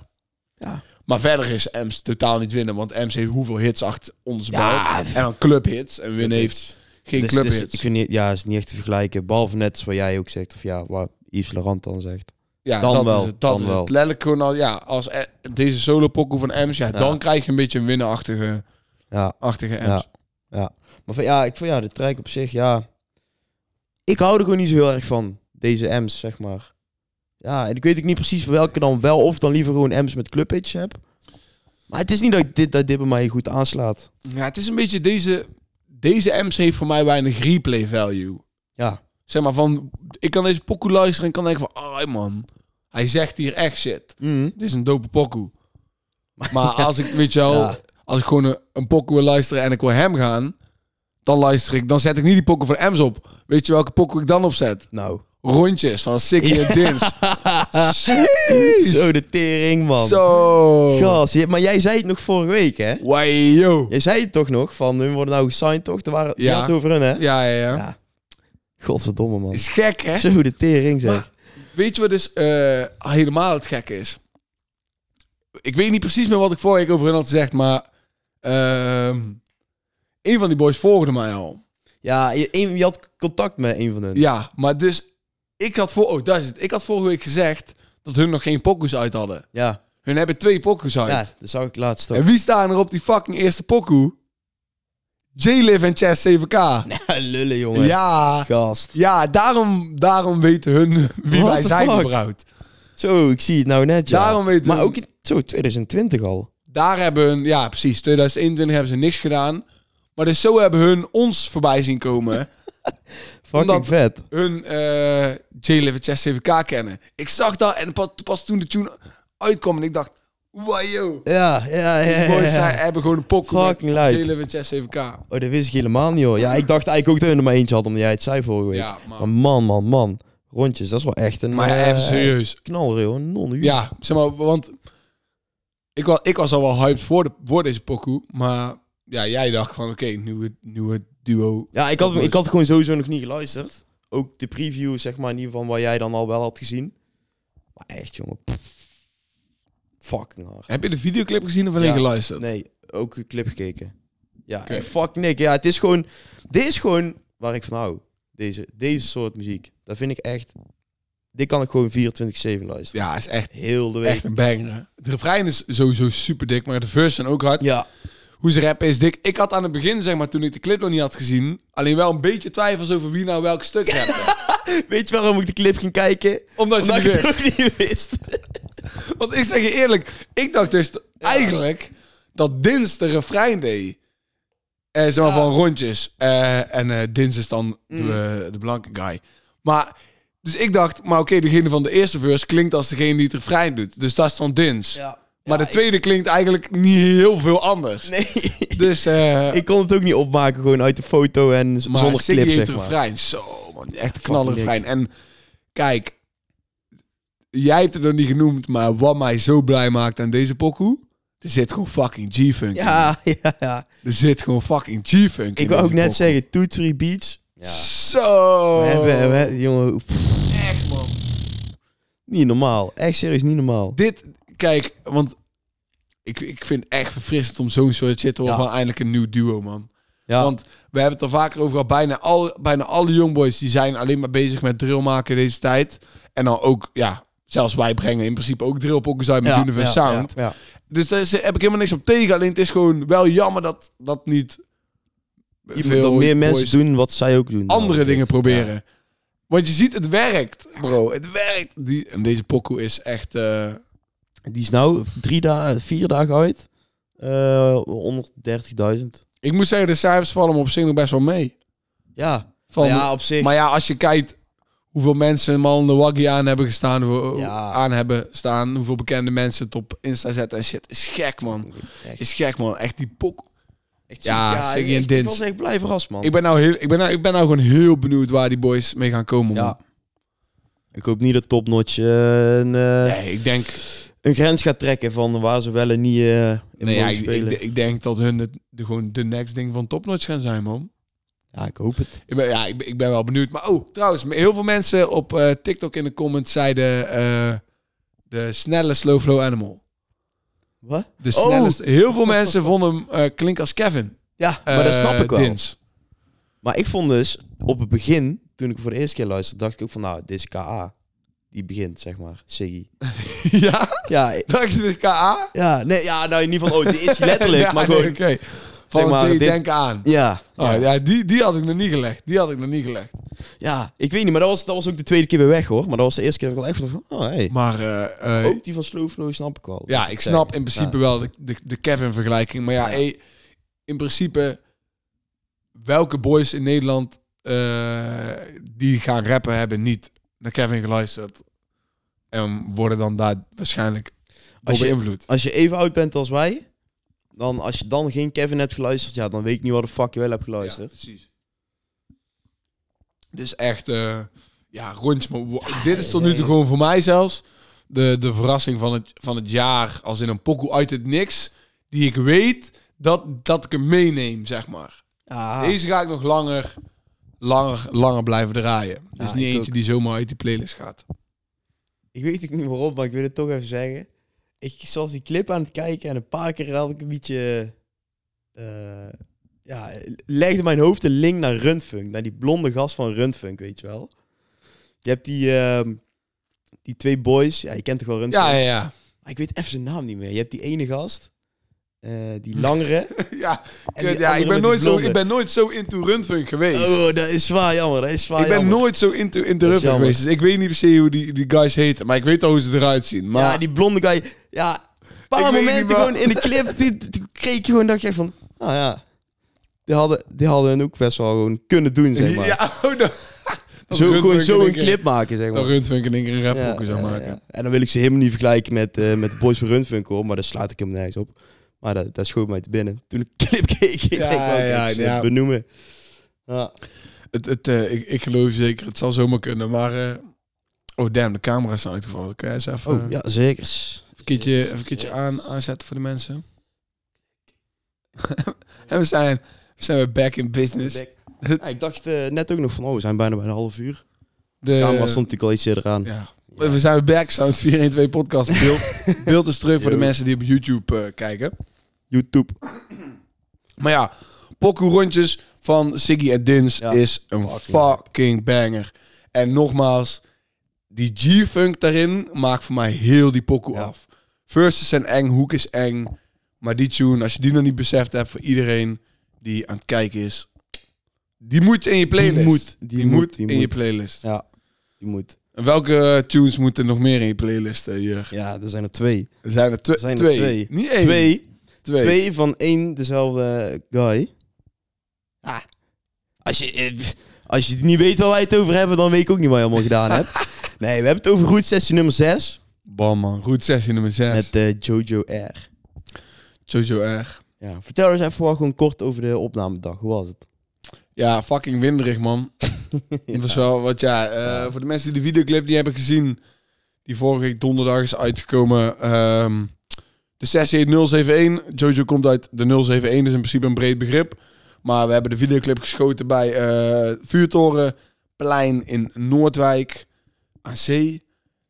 B: Ja.
A: Maar verder is Ems totaal niet winnen, want Ems heeft hoeveel hits achter ons
B: Ja,
A: belt.
B: pff.
A: En dan clubhits. En Win heeft geen
B: Dus- dus
A: clubhits.
B: ik vind niet, ja, is niet echt te vergelijken. Behalve net zoals jij ook zegt, of ja, wat Yves Laurent dan zegt.
A: ja,
B: dan
A: dat
B: wel,
A: Is het, dat
B: dan
A: is
B: wel.
A: Het. Letterlijk gewoon al, ja, als eh, deze solo pokoe van Ems, ja, dan krijg je een beetje een winnenachtige
B: Ja,
A: achtige Ems.
B: ja. ja. Maar van, ja, ik vond ja, de track op zich, ja. Ik hou er gewoon niet zo heel erg van, deze M's, zeg maar. Ja, en ik weet ook niet precies van welke dan wel, of dan liever gewoon M's met clubhits heb. Maar het is niet dat ik dit, dat dit bij mij goed aanslaat.
A: Ja, het is een beetje deze... Deze Ems heeft voor mij weinig replay value.
B: Ja,
A: Zeg maar van, ik kan deze pokoe luisteren en kan denken van, ah man, hij zegt hier echt shit.
B: Mhm.
A: Dit is een dope
B: *laughs*
A: pokoe. Maar als ik, weet je wel,
B: Ja.
A: als ik gewoon een, een pokoe wil luisteren en ik wil hem gaan, dan luister ik, dan zet ik niet die pokoe van M's op. Weet je welke pokoe ik dan opzet?
B: nou.
A: Rondjes van Sicky en
B: *laughs*
A: Dins.
B: Zo de tering, man.
A: Zo.
B: Gas, je- maar jij zei het nog vorige week, hè?
A: Wai, yo.
B: Jij zei het toch nog, van hun worden nou gesigned, toch? Er waren,
A: Ja.
B: Je had het over hun, hè?
A: Ja, ja, ja.
B: Ja. Godverdomme, man.
A: Is gek, hè?
B: Zo de tering, zeg.
A: Maar- Weet je wat dus eh, helemaal het gekke is? Ik weet niet precies meer wat ik vorige week over hun had gezegd, maar... ehm, een van die boys volgde mij al.
B: Ja, je, een- je had contact met een van hun.
A: Ja, maar dus... Ik had, voor, oh, daar is het. ik had vorige week gezegd dat hun nog geen pokoes uit hadden.
B: Ja,
A: Hun hebben twee pokoes uit.
B: ja dat zag ik laatst
A: en
B: *laughs* toch.
A: wie staan er op die fucking eerste pokoe? J-Liv en Chess 7K.
B: Lullen, jongen.
A: ja,
B: Gast.
A: ja daarom, daarom weten hun *laughs* wie
B: What
A: wij
B: the
A: zijn
B: fuck?
A: überhaupt.
B: Zo, ik zie het nou net, ja.
A: Daarom weten
B: Maar
A: hun-
B: ook in, zo, 2020 al.
A: daar hebben hun, ja precies, 2021 hebben ze niks gedaan. Maar dus zo hebben hun ons voorbij zien
B: *laughs*
A: komen.
B: Fucking
A: Omdat-
B: vet.
A: hun eh J-Live Chess 7K kennen. Ik zag dat en pas, pas toen de tune uitkwam en ik dacht, wow
B: *laughs*
A: yo.
B: Ja, ja, ja.
A: Die
B: ja,
A: boys
B: ja.
A: zijn, hebben gewoon een pok
B: Fucking lijp.
A: J-Live Chess 7K.
B: Oh, dat wist ik helemaal niet, hoor. Ja, ik dacht eigenlijk ook dat hun er maar eentje had, omdat jij het zei vorige week.
A: Ja,
B: Maar
A: maar,
B: man, man, man. Rondjes, dat is wel echt een...
A: maar ja,
B: eh,
A: even serieus.
B: Knaller, joh. Een Non ja.
A: Ja, zeg maar, want ik was, ik was al wel hyped voor, de, voor deze pokoe, maar ja, jij dacht van oké, nieuwe, nieuwe duo.
B: ja, ik had, ik had gewoon sowieso nog niet geluisterd. Ook de preview, zeg maar, in ieder geval, wat jij dan al wel had gezien. Maar echt, jongen. pff. Fucking hard.
A: Heb je de videoclip gezien of alleen
B: Ja.
A: geluisterd?
B: Nee, ook een clip gekeken. Ja,
A: Oké.
B: en fuck Nick. Ja, het is gewoon... Dit is gewoon waar ik van hou. Deze, deze soort muziek. Dat vind ik echt... Dit kan ik gewoon 24-7 luisteren.
A: Ja, is echt
B: Heel de week.
A: Echt een banger. hè? De refrein is sowieso super dik, maar de verse zijn ook hard.
B: Ja.
A: Hoe ze rappen is dik. Ik had aan het begin, zeg maar, toen ik de clip nog niet had gezien, alleen wel een beetje twijfels over wie nou welk stuk rapte.
B: Weet je waarom ik de clip ging kijken?
A: Omdat je
B: Omdat
A: het
B: ik
A: niet
B: het
A: wist.
B: ook niet wist. *laughs*
A: Want ik zeg je eerlijk, ik dacht dus t- eigenlijk dat Dins de refrein deed. Eh, zeg maar van rondjes. Eh, en eh Dins is dan de, eh, de blanke guy. Maar, dus ik dacht, maar oké, degene van de eerste verse klinkt als degene die het refrein doet. Dus dat is dan Dins.
D: Ja.
A: Maar
D: Ja,
A: de tweede klinkt eigenlijk niet heel veel anders.
B: Nee.
A: Dus, eh
B: ik kon het ook niet opmaken gewoon uit de foto en z-
A: maar
B: zonder
A: Siggy
B: clip,
A: heeft
B: zeg
A: een
B: maar.
A: refrein. Zo, man. Echt een knaller
B: Fucking
A: refrein. En kijk, jij hebt het nog niet genoemd, maar wat mij zo blij maakt aan deze pokoe... Er zit gewoon fucking G-Funk in.
D: Ja, ja, ja.
A: Er zit gewoon fucking G-Funk in.
B: Ik wou ook
A: deze
B: net
A: pokoe.
B: zeggen, Two Three Beats.
A: Zo.
B: We hebben, we- jongen, pff,
A: Echt, man.
B: niet normaal. Echt serieus, niet normaal.
A: Dit, kijk, want ik, ik vind het echt verfrissend om zo'n soort shit te horen
B: Ja.
A: van eindelijk een nieuw duo, man.
B: Ja.
A: Want we hebben het er vaker over gehad. Bijna, al, bijna alle jongboys die zijn alleen maar bezig met drill maken deze tijd. En dan ook, ja, zelfs wij brengen in principe ook drillpokkers uit met
D: Ja,
A: Universe
D: ja,
A: Sound.
B: ja.
A: Dus daar is- heb ik helemaal niks op tegen. Alleen het is gewoon wel jammer dat dat niet
B: Iemand dat meer mensen
A: boys
B: doen wat zij ook doen.
A: andere
B: Nou,
A: dingen
B: dit.
A: proberen. Want je ziet, het werkt, bro. Het werkt. Die, en deze pokoe is echt... eh,
B: Ja. Die is nou drie dagen, vier dagen uit. Eh 130.000.
A: Ik moet zeggen, de cijfers vallen me op zich nog best wel mee.
B: Ja.
A: Van,
D: ja, op zich.
A: maar ja, als je kijkt hoeveel mensen man de waggy aan hebben gestaan, hoeveel-
D: Ja.
A: aan hebben staan, hoeveel bekende mensen het op Insta zetten en shit, is gek man.
B: Echt,
A: Is gek man, echt die pok.
D: Echt
A: Ja,
D: ziek.
A: Siggy en
D: echt-
B: ik
A: Dins.
B: was echt blij verrast, man.
A: Ik ben nou heel, ik ben nou, ik ben nou gewoon heel benieuwd waar die boys mee gaan komen. Man.
B: Ja. Ik hoop niet dat Topnotch eh, een, eh,
A: Nee, ik denk,
B: een grens gaat trekken van waar ze wel en niet eh in
A: nee, ja,
B: mogen
A: ik,
B: spelen.
A: ik- ik denk dat hun het, de, gewoon de next ding van topnotch gaan zijn man.
B: ja, ik hoop het.
A: Ik ben, ja, ik, ben- ik ben wel benieuwd. Maar oh, trouwens, heel veel mensen op eh, TikTok in de comments zeiden eh, de snelle slow flow animal.
B: Wat?
A: De snelste. Heel veel mensen vonden hem eh klinken als Kevin.
B: Ja, maar dat
A: Eh,
B: snap ik wel.
A: Dins. *laughs*
B: Maar ik vond dus op het begin, toen ik hem voor de eerste keer luisterde, dacht ik ook van nou, dit is KA. Die begint, zeg maar,
A: *laughs*
B: Siggy.
A: ja?
B: Ja, ik-
A: Dacht je de KA?
B: ja, nee, ja, nou in ieder geval, oh, die is hij
A: *laughs*
B: letterlijk,
A: Ja,
B: maar
A: nee,
B: gewoon...
A: Oké. Van
B: maar,
A: die
B: dit-
A: denk aan.
B: Ja,
A: Oh,
B: ja.
A: ja, die, die had ik nog niet gelegd. Die had ik nog niet gelegd.
B: ja, ik weet niet, maar dat was, dat was ook de tweede keer weer weg hoor. Maar dat was de eerste keer dat ik wel echt van, oh hey.
A: Maar eh, eh,
B: Ook die van Slow Flow snap ik wel. moet
A: ja, ik snap
B: zeggen.
A: in principe wel de, de, de Kevin-vergelijking. Maar ja,
B: Ja.
A: hey, in principe, welke boys in Nederland eh, die gaan rappen hebben niet naar Kevin geluisterd. En worden dan daar waarschijnlijk door
B: Als je-
A: beïnvloed.
B: Als je even oud bent als wij, dan als je dan geen Kevin hebt geluisterd, ja, dan weet ik niet wat de fuck je wel hebt geluisterd.
A: Ja, precies. Dus echt, eh, ja, rondjes. Maar wa-
B: Ah,
A: dit is tot nu toe gewoon voor mij zelfs de, de verrassing van het, van het jaar. Als in een pokoe uit het niks, die ik weet dat, dat ik hem meeneem, zeg maar.
B: Ah.
D: Ja,
A: Deze ga ik nog langer, langer, langer blijven draaien. Dus
B: Ah,
D: Ja,
A: niet
D: ik
A: eentje
D: ook.
A: die zomaar uit die playlist gaat.
B: Ik weet het niet waarom, maar ik wil het toch even zeggen. Ik was die clip aan het kijken en een paar keer had ik een beetje... eh, ja, legde mijn hoofd een link naar Rundfunk. Naar die blonde gast van Rundfunk, weet je wel. Je hebt die, ehm, die twee boys. Ja, je kent toch wel Rundfunk?
A: Ja, ja, ja.
B: Maar ik weet even zijn naam niet meer. Je hebt die ene gast. eh, die langere.
A: *laughs* ja,
B: En
A: ik-
B: die
A: ja ik,
B: andere met
A: ben
B: die
A: nooit zo,
B: blonde.
A: ik ben nooit zo into Rundfunk geweest.
B: Oh, dat is zwaar jammer. Dat is zwaar
A: ik ben
B: jammer.
A: nooit zo into, into
B: is
A: Rundfunk
B: jammer.
A: geweest. Dus ik weet niet per se hoe die, die guys heten. Maar ik weet al hoe ze eruit zien. Maar
B: Ja, die blonde guy. Ja, een
A: Ik
B: paar
A: weet
B: momenten
A: niet, maar-
B: gewoon in de clip. Toen toen keek je gewoon, dacht je van... Nou ja, die hadden, die hadden hun ook best wel gewoon kunnen doen, zeg maar.
A: *laughs* *laughs* Ja, oh, dan, dan
B: zo, gewoon
A: Rundfunk in
B: zo een
A: één keer-
B: clip maken, zeg
A: Dan
B: maar.
A: Rundfunk in één keer een rap
B: Ja,
A: zou
B: ja,
A: maken.
B: ja. En dan wil ik ze helemaal niet vergelijken met, eh, met de Boys van Rundfunk, hoor. Maar daar slaat ik hem nergens op. Maar dat, dat schoot mij te binnen. Toen ik de clip *laughs* keek, ik
A: Ja,
B: denk, wel,
A: ja,
B: kijk, ze
A: ja.
B: benoemen. Ja.
A: Het, het, eh, ik, ik geloof je zeker, het zal zomaar kunnen. Maar, eh, oh damn, de camera's zijn uitgevallen. Kun jij eens even,
B: Oh,
A: eh,
B: ja, zeker.
A: even een keertje, even een keertje aan, aanzetten voor de mensen? *laughs* en we zijn, we zijn weer back in business.
B: Ja, ik dacht eh, net ook nog van, oh, we zijn bijna bij een half uur.
A: De
B: De camera stond natuurlijk al iets eerder aan.
A: Ja. We zijn weer back, *laughs* Sound 412 podcast. Beeld, beeld is terug voor de
B: Yo.
A: mensen die op YouTube eh, kijken.
B: YouTube.
A: Maar ja, Pokoe Rondjes van Siggy en Dins
B: Ja.
A: is een
B: Fucking
A: fucking banger. En nogmaals, die G-funk daarin maakt voor mij heel die pokoe
B: Ja.
A: af. Verses zijn eng, hoek is eng. Maar die tune, als je die nog niet beseft hebt voor iedereen die aan het kijken is, die moet in je playlist.
B: moet, die
A: Die
B: moet,
A: moet
B: die
A: in je
B: moet.
A: playlist.
B: Ja, je moet.
A: En welke eh, tunes moeten nog meer in je playlist, eh, Jurgen?
B: Ja, er zijn er twee.
A: Er zijn er, twe-
B: Er zijn er
A: twee.
B: twee.
A: Niet één.
B: Twee.
A: Twee.
B: Twee van één dezelfde guy.
A: Ja.
B: Ah. Als je, eh, als je niet weet waar wij het over hebben, dan weet ik ook niet wat je allemaal gedaan hebt. *laughs* Nee, we hebben het over goed sessie nummer 6
A: Bam, man. Goed sessie nummer 6.
B: met eh, Jojo R.
A: Jojo R.
B: Ja, vertel eens even wat gewoon kort over de opnamedag. Hoe was het?
A: Ja, fucking winderig, *laughs* man. Dat was wel wat, ja. eh, Voor de mensen die de videoclip niet hebben gezien, die vorige week donderdag is uitgekomen. ehm, de E sessie heet 071. Jojo komt uit de 071, dus in principe een breed begrip. Maar we hebben de videoclip geschoten bij eh Vuurtorenplein in Noordwijk aan zee.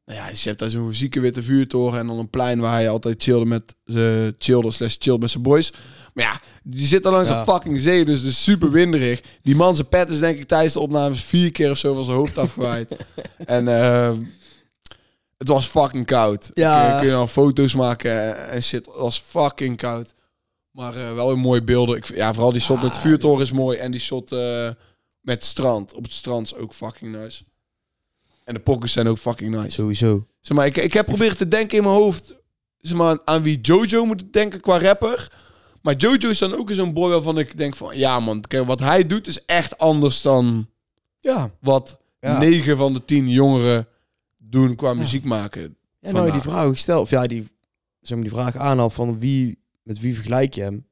A: Nou ja, dus je hebt daar zo'n zieke witte vuurtoren en dan een plein waar hij altijd chillde met ze chillde slash chill met zijn boys. Maar ja, die zit al langs
B: Ja.
A: een fucking zee, dus dus super winderig. Die man zijn pet is denk ik tijdens de opnames vier keer of zo van zijn hoofd afgewaaid.
B: *laughs*
A: en ehm, het was fucking koud. eh,
B: Ja.
A: Kun je- Kun je dan foto's maken en shit, het was fucking koud. Maar eh, wel een mooie beelden. Ik, ja, vooral die
B: Ah,
A: shot met vuurtoren is mooi en die shot eh, met strand. Op het strand is ook fucking nice. En de pockets zijn ook fucking nice.
B: Sowieso.
A: Zeg maar, ik, ik heb proberen te denken in mijn hoofd zeg maar, aan wie Jojo moet denken qua rapper. Maar Jojo is dan ook zo'n boy waarvan ik denk van... Ja man, kijk, wat hij doet is echt anders dan
B: Ja.
A: wat
B: Ja.
A: 9 van de 10 jongeren doen qua muziek maken.
B: En nou je die
A: Vandaar.
B: vraag gesteld, of ja, die, zeg maar die vraag aanhaal van wie, met wie vergelijk je hem?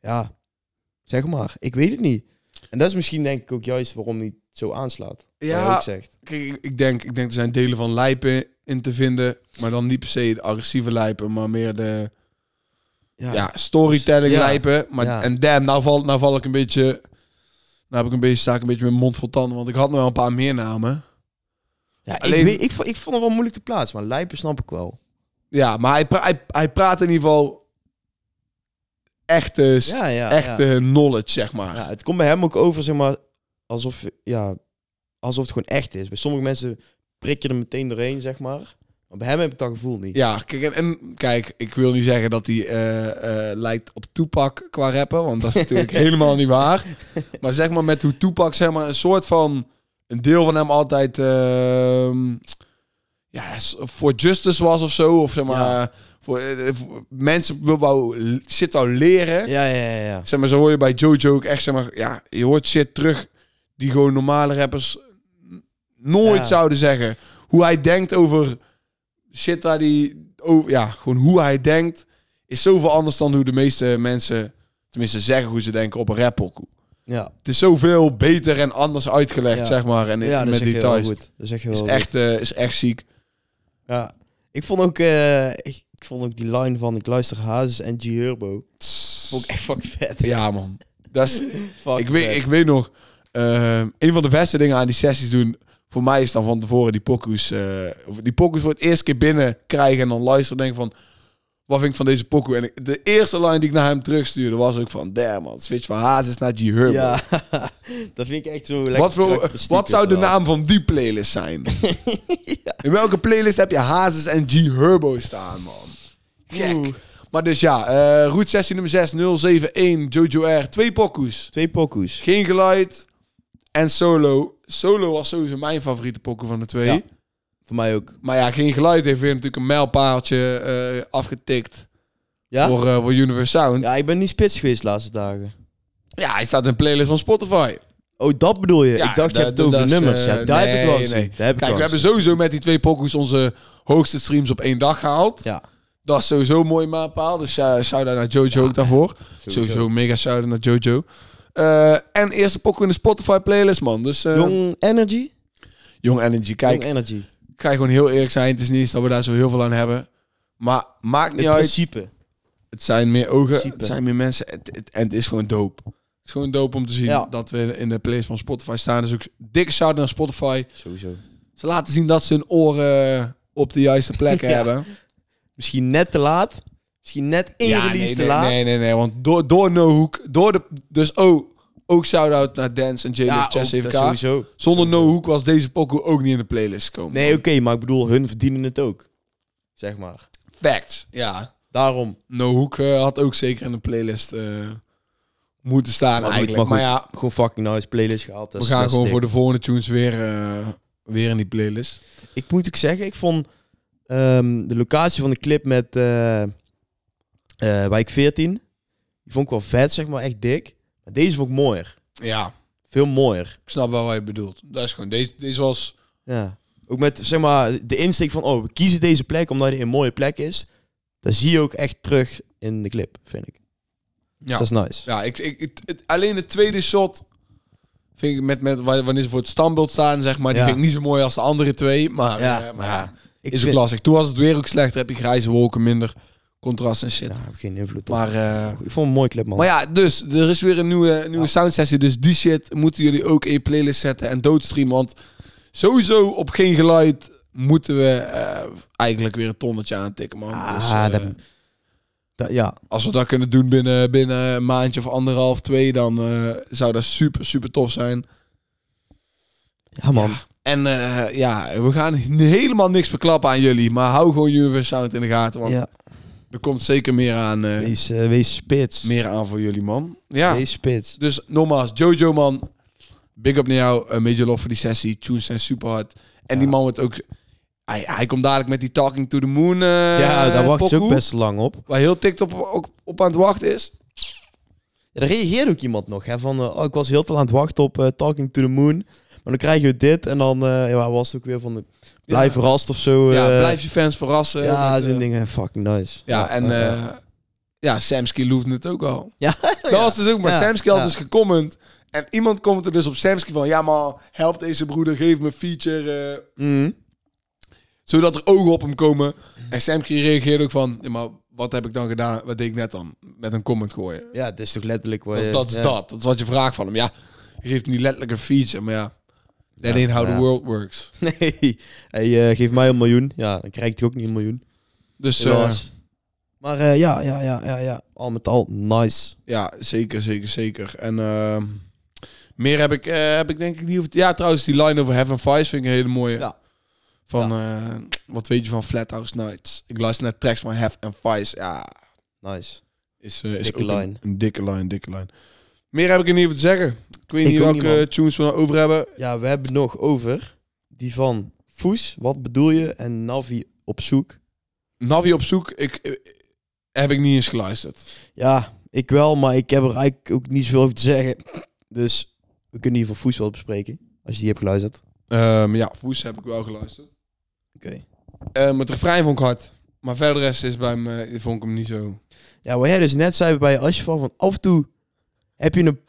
B: Ja, zeg maar. Ik weet het niet. En dat is misschien denk ik ook juist waarom hij het zo aanslaat. Ja. Wat je ook zegt.
A: Kijk, Eh, ik- ik denk, ik denk er zijn delen van lijpen in te vinden. Maar dan niet per se de agressieve lijpen, maar meer de ja. storytelling
B: Ja.
A: lijpen. Maar,
B: Ja.
A: En damn, nou val, nou val ik een beetje... Nou heb ik een beetje, sta ik een beetje met mijn mond vol tanden. Want ik had nog wel een paar meer namen.
B: Ja, ik,
A: Alleen-
B: weet, ik, vond- ik vond het wel moeilijk te plaatsen, maar lijpen snap ik wel.
A: Ja, maar hij, pra- hij, hij praat in ieder geval... Echte, s-
B: Ja, ja,
A: echte
B: ja.
A: knowledge, zeg maar.
B: Ja, het komt bij hem ook over, zeg maar, alsof, ja, alsof het gewoon echt is. Bij sommige mensen prik je er meteen doorheen, zeg maar. Maar bij hem heb ik dat gevoel niet.
A: Ja, kijk, en, en kijk, ik wil niet zeggen dat hij eh, eh, lijkt op Tupac qua rappen, want dat is
B: *laughs*
A: natuurlijk helemaal niet waar. Maar zeg maar met hoe Tupac zeg maar een soort van een deel van hem altijd ehm, ja voor justice was of zo, of zeg maar
B: Ja.
A: voor, eh, voor- mensen wil wou shit wou leren.
B: Ja, ja, ja. ja.
A: Zeg maar, zo hoor je bij Jojo ook echt zeg maar, ja, je hoort shit terug die gewoon normale rappers n- nooit
B: Ja.
A: zouden zeggen. Hoe hij denkt over shit waar die over, ja, gewoon hoe hij denkt is zoveel anders dan hoe de meeste mensen, tenminste zeggen hoe ze denken op een rappokoe.
B: ja.
A: Het is zoveel beter en anders uitgelegd,
B: Ja.
A: zeg maar, en
B: Ja, dat
A: met
B: zeg je wel
A: details.
B: goed. Dat zeg je wel
A: Is
B: goed.
A: echt, eh, is echt ziek.
B: Ja. Ik vond ook, eh, ik, ik vond ook die line van ik luister Hazes en G-Herbo. Vond ik echt fucking vet.
A: Ja, man. Dat is,
B: *laughs* Fucking
A: ik, weet,
B: vet.
A: ik weet nog, ehm, een van de beste dingen aan die sessies doen, voor mij is dan van tevoren die pokoes, eh, of die pokoes voor het eerste keer binnen krijgen en dan luisteren en denken van, wat vind ik van deze pokoe? En ik- de eerste line die ik naar hem terugstuurde was ook van, damn man, switch van Hazes naar G Herbo.
B: Ja, *laughs* dat vind ik echt zo lekker.
A: Wat, voor,
B: karakteristiek
A: wat zou
B: is
A: de
B: wel.
A: naam van die playlist
B: *laughs*
A: zijn? In welke playlist heb je Hazes en G Herbo staan, man? Gek.
B: Oeh.
A: Maar dus ja, eh route 16 nummer 6, 071, Jojo R, twee pokoes.
B: Twee pokoes.
A: Geen geluid en solo. Solo was sowieso mijn favoriete pokken van de twee.
B: Ja. Voor mij ook.
A: Maar ja, geen geluid heeft weer natuurlijk een mijlpaaltje eh, afgetikt
B: Ja?
A: voor, eh, voor Universe Sound. Ja.
B: Ja, ik ben niet spits geweest de laatste dagen.
A: hij staat in de playlist van Spotify.
B: Oh, dat bedoel je?
A: Ja,
B: ik dacht, je
A: dat-
B: hebt het over
A: dat is,
B: nummers. Ja,
A: eh,
B: daar heb ik wel
A: nee,
B: gezien.
A: nee.
B: Daar heb
A: Kijk,
B: ik wel
A: we hebben
B: gezien.
A: sowieso met die twee pokoes onze hoogste streams op één dag gehaald.
B: Ja,
A: Dat is sowieso een mooie mijlpaal. Dus ja, shout-out naar Jojo ook daarvoor. Sowieso, mega shout-out naar Jojo. Eh, en eerste pokoe in de Spotify playlist, man. Dus eh, Jong,
B: Jong Energy?
A: Energy. Kijk,
B: Jong Energy.
A: ik ga je gewoon heel eerlijk zijn. Het is niet eens dat we daar zo heel veel aan hebben. Maar maakt niet
B: In
A: uit.
B: principe.
A: Het zijn meer ogen,
B: Principe.
A: het zijn meer mensen. Het, het- en het is gewoon dope. Het is gewoon dope om te zien
B: Ja.
A: dat we in de playlist van Spotify staan. Dus ook dikke shout naar Spotify.
B: Sowieso.
A: Ze laten zien dat ze hun oren op de juiste plekken
B: *laughs* Ja.
A: hebben.
B: Misschien net te laat. Misschien net één release
A: nee,
B: te
A: nee,
B: laat.
A: nee, nee, nee. Want door, door No Hook, door de... Dus oh, ook shout-out naar Dance en JD
B: Ja,
A: of Chess
B: ook, dat
A: EVK.
B: sowieso.
A: Zonder No Hook was deze pokoe ook niet in de playlist gekomen.
B: Nee, oké, maar ik bedoel, hun verdienen het ook. Zeg maar.
A: Facts, ja.
B: Daarom.
A: No Hook eh, had ook zeker in de playlist eh, moeten staan
B: Maar goed,
A: eigenlijk.
B: maar
A: Maar,
B: goed.
A: ja,
B: Gewoon fucking nice playlist gehaald.
A: we gaan gewoon voor de volgende tunes weer, eh, weer in die playlist.
B: Ik moet ook zeggen, ik vond ehm, de locatie van de clip met eh eh, Wijk 14... Die vond ik wel vet, zeg maar. Echt dik. Maar deze vond ik mooier.
A: Ja,
B: Veel mooier.
A: ik snap wel wat je bedoelt. Dat is gewoon, deze, deze was...
B: Ja. Ook met zeg maar de insteek van oh, we kiezen deze plek omdat die een mooie plek is. Dat zie je ook echt terug in de clip, vind ik.
A: Ja.
B: Dus dat is nice.
A: Ja, ik, ik, het- het- alleen het tweede shot vind ik met, met wa- wanneer ze voor het standbeeld staan, zeg maar, die
B: Ja.
A: vind ik niet zo mooi als de andere twee. Maar,
B: Ja,
A: eh, maar
B: maar
A: ja,
B: ja, ik
A: is ook
B: vind-
A: lastig. Toen was het weer ook slechter, heb je grijze wolken, minder contrast en shit.
B: Ja, heb ik geen invloed op.
A: Maar, eh,
B: ik vond het een mooi clip, man.
A: maar ja, dus er is weer een nieuwe, nieuwe soundsessie. Dus die shit moeten jullie ook in je playlist zetten en doodstreamen. Want sowieso op geen geluid moeten we eh, eigenlijk weer een tonnetje aantikken, man.
B: Ah,
A: Dus, eh,
B: dat- Dat- ja.
A: als we dat kunnen doen binnen, binnen een maandje of anderhalf, twee, dan eh, zou dat super, super tof zijn.
B: ja, man.
A: En eh, ja, we gaan n- helemaal niks verklappen aan jullie, maar hou gewoon Universe Sound in de gaten, want
B: Ja.
A: er komt zeker meer aan, eh,
B: Wees, eh, wees spits.
A: meer aan voor jullie, man. Ja,
B: Wees spits.
A: dus nogmaals, Jojo, man, big up naar jou, Eh, een beetje lof voor die sessie, tunes zijn super hard. En die man wordt ook, hij, hij komt dadelijk met die Talking to the Moon eh
B: ja, daar wacht ze ook
A: pokoe,
B: best lang op.
A: Waar heel TikTok ook op aan het wachten is.
B: Ja, Er reageerde ook iemand nog, hè, van eh, oh, ik was heel te lang aan het wachten op eh, Talking to the Moon. Maar dan krijgen we dit en dan eh, ja, was het ook weer van de, blijf
A: Ja.
B: verrast of zo.
A: ja,
B: eh,
A: blijf je fans verrassen.
B: Ja,
A: met,
B: zo'n
A: eh,
B: dingen. Fucking nice.
A: Ja, en
B: ja, ja.
A: eh, ja, Samsky loefde het ook al.
B: Ja, *laughs*
A: Dat was dus ook, maar
B: Ja,
A: Samsky had
B: ja.
A: dus gecomment. En iemand komt er dus op Samsky van... Ja, maar help deze broeder, geef me een feature. eh,
B: Mhm.
A: zodat er ogen op hem komen. En Samsky reageerde ook van... Ja, maar wat heb ik dan gedaan? Wat deed ik net dan? Met een comment gooien.
B: Ja, dat is toch letterlijk wat
A: Dat, is-
B: je-
A: dat is
B: ja.
A: dat. Dat is wat je vraagt van hem. Ja, je geeft niet letterlijk een feature, maar ja... That ain't how
B: ja.
A: the world works.
B: *laughs* Nee. Hey, eh, geef mij een miljoen. Ja, dan krijg ik ook niet een miljoen.
A: Dus eh,
B: Helaas. Maar eh, ja, ja, ja, ja, ja. Al met al, nice.
A: Ja, zeker, zeker, zeker. En ehm, meer heb ik, eh, heb ik denk ik niet hoeven... Ja, trouwens, die line over Heaven Fives vind ik een hele mooie.
B: Ja.
A: Van, eh, wat weet je van Flathouse Nights? Ik luister naar tracks van Heaven and Fives. Ja,
B: Nice.
A: is, eh, is
B: Dikke
A: ook een-
B: line.
A: Een, dikke line, dikke line. Meer heb ik er niet over te zeggen. Ik weet
B: Ik
A: niet
B: ook
A: welke
B: niet, man.
A: tunes we nou over hebben.
B: Ja, we hebben nog over die van Foes, wat bedoel je? En Navi op zoek.
A: Navi op zoek, ik, eh, heb ik niet eens geluisterd.
B: Ja, ik wel, maar ik heb er eigenlijk ook niet zoveel over te zeggen. Dus we kunnen hier voor Foes wel bespreken. Als je die hebt geluisterd.
A: Ehm, ja, Woes heb ik wel geluisterd.
B: Oké.
A: Ehm het refrein vond ik hard. Maar verder de rest is bij me, vond ik hem niet zo...
B: Ja, wat jij dus net zei bij Ashval, van af en toe heb je *laughs* een...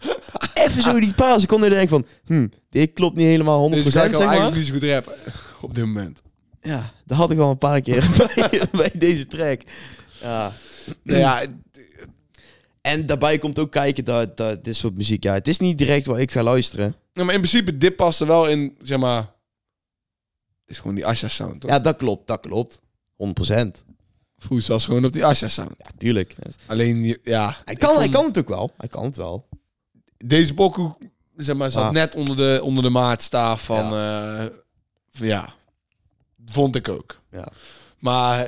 B: Even zo die paar seconden en denk van, hm, dit klopt niet helemaal 100%,
A: Dus ik kan
B: zeg maar.
A: eigenlijk niet zo goed rappen *laughs* op dit moment.
B: Ja, dat had ik al een paar keer *laughs* bij, bij deze track. Ja.
A: Nou ja,
B: En daarbij komt ook kijken dat, dat dit soort muziek, ja, het is niet direct waar ik ga luisteren.
A: nou, maar in principe, dit past er wel in, zeg maar... het is gewoon die Asha-sound, toch?
B: Ja, dat klopt, dat klopt. 100%.
A: Vroeger was gewoon op die Asha-sound.
B: Ja, tuurlijk.
A: Alleen, je- ja...
B: Hij
A: ik
B: kan,
A: vond-
B: hij kan het ook wel. Hij kan het wel.
A: Deze pokoe, zeg maar, zat
B: Ah.
A: net onder de, onder de maatstaaf van... Ja. ja, vond ik ook.
B: Ja.
A: Maar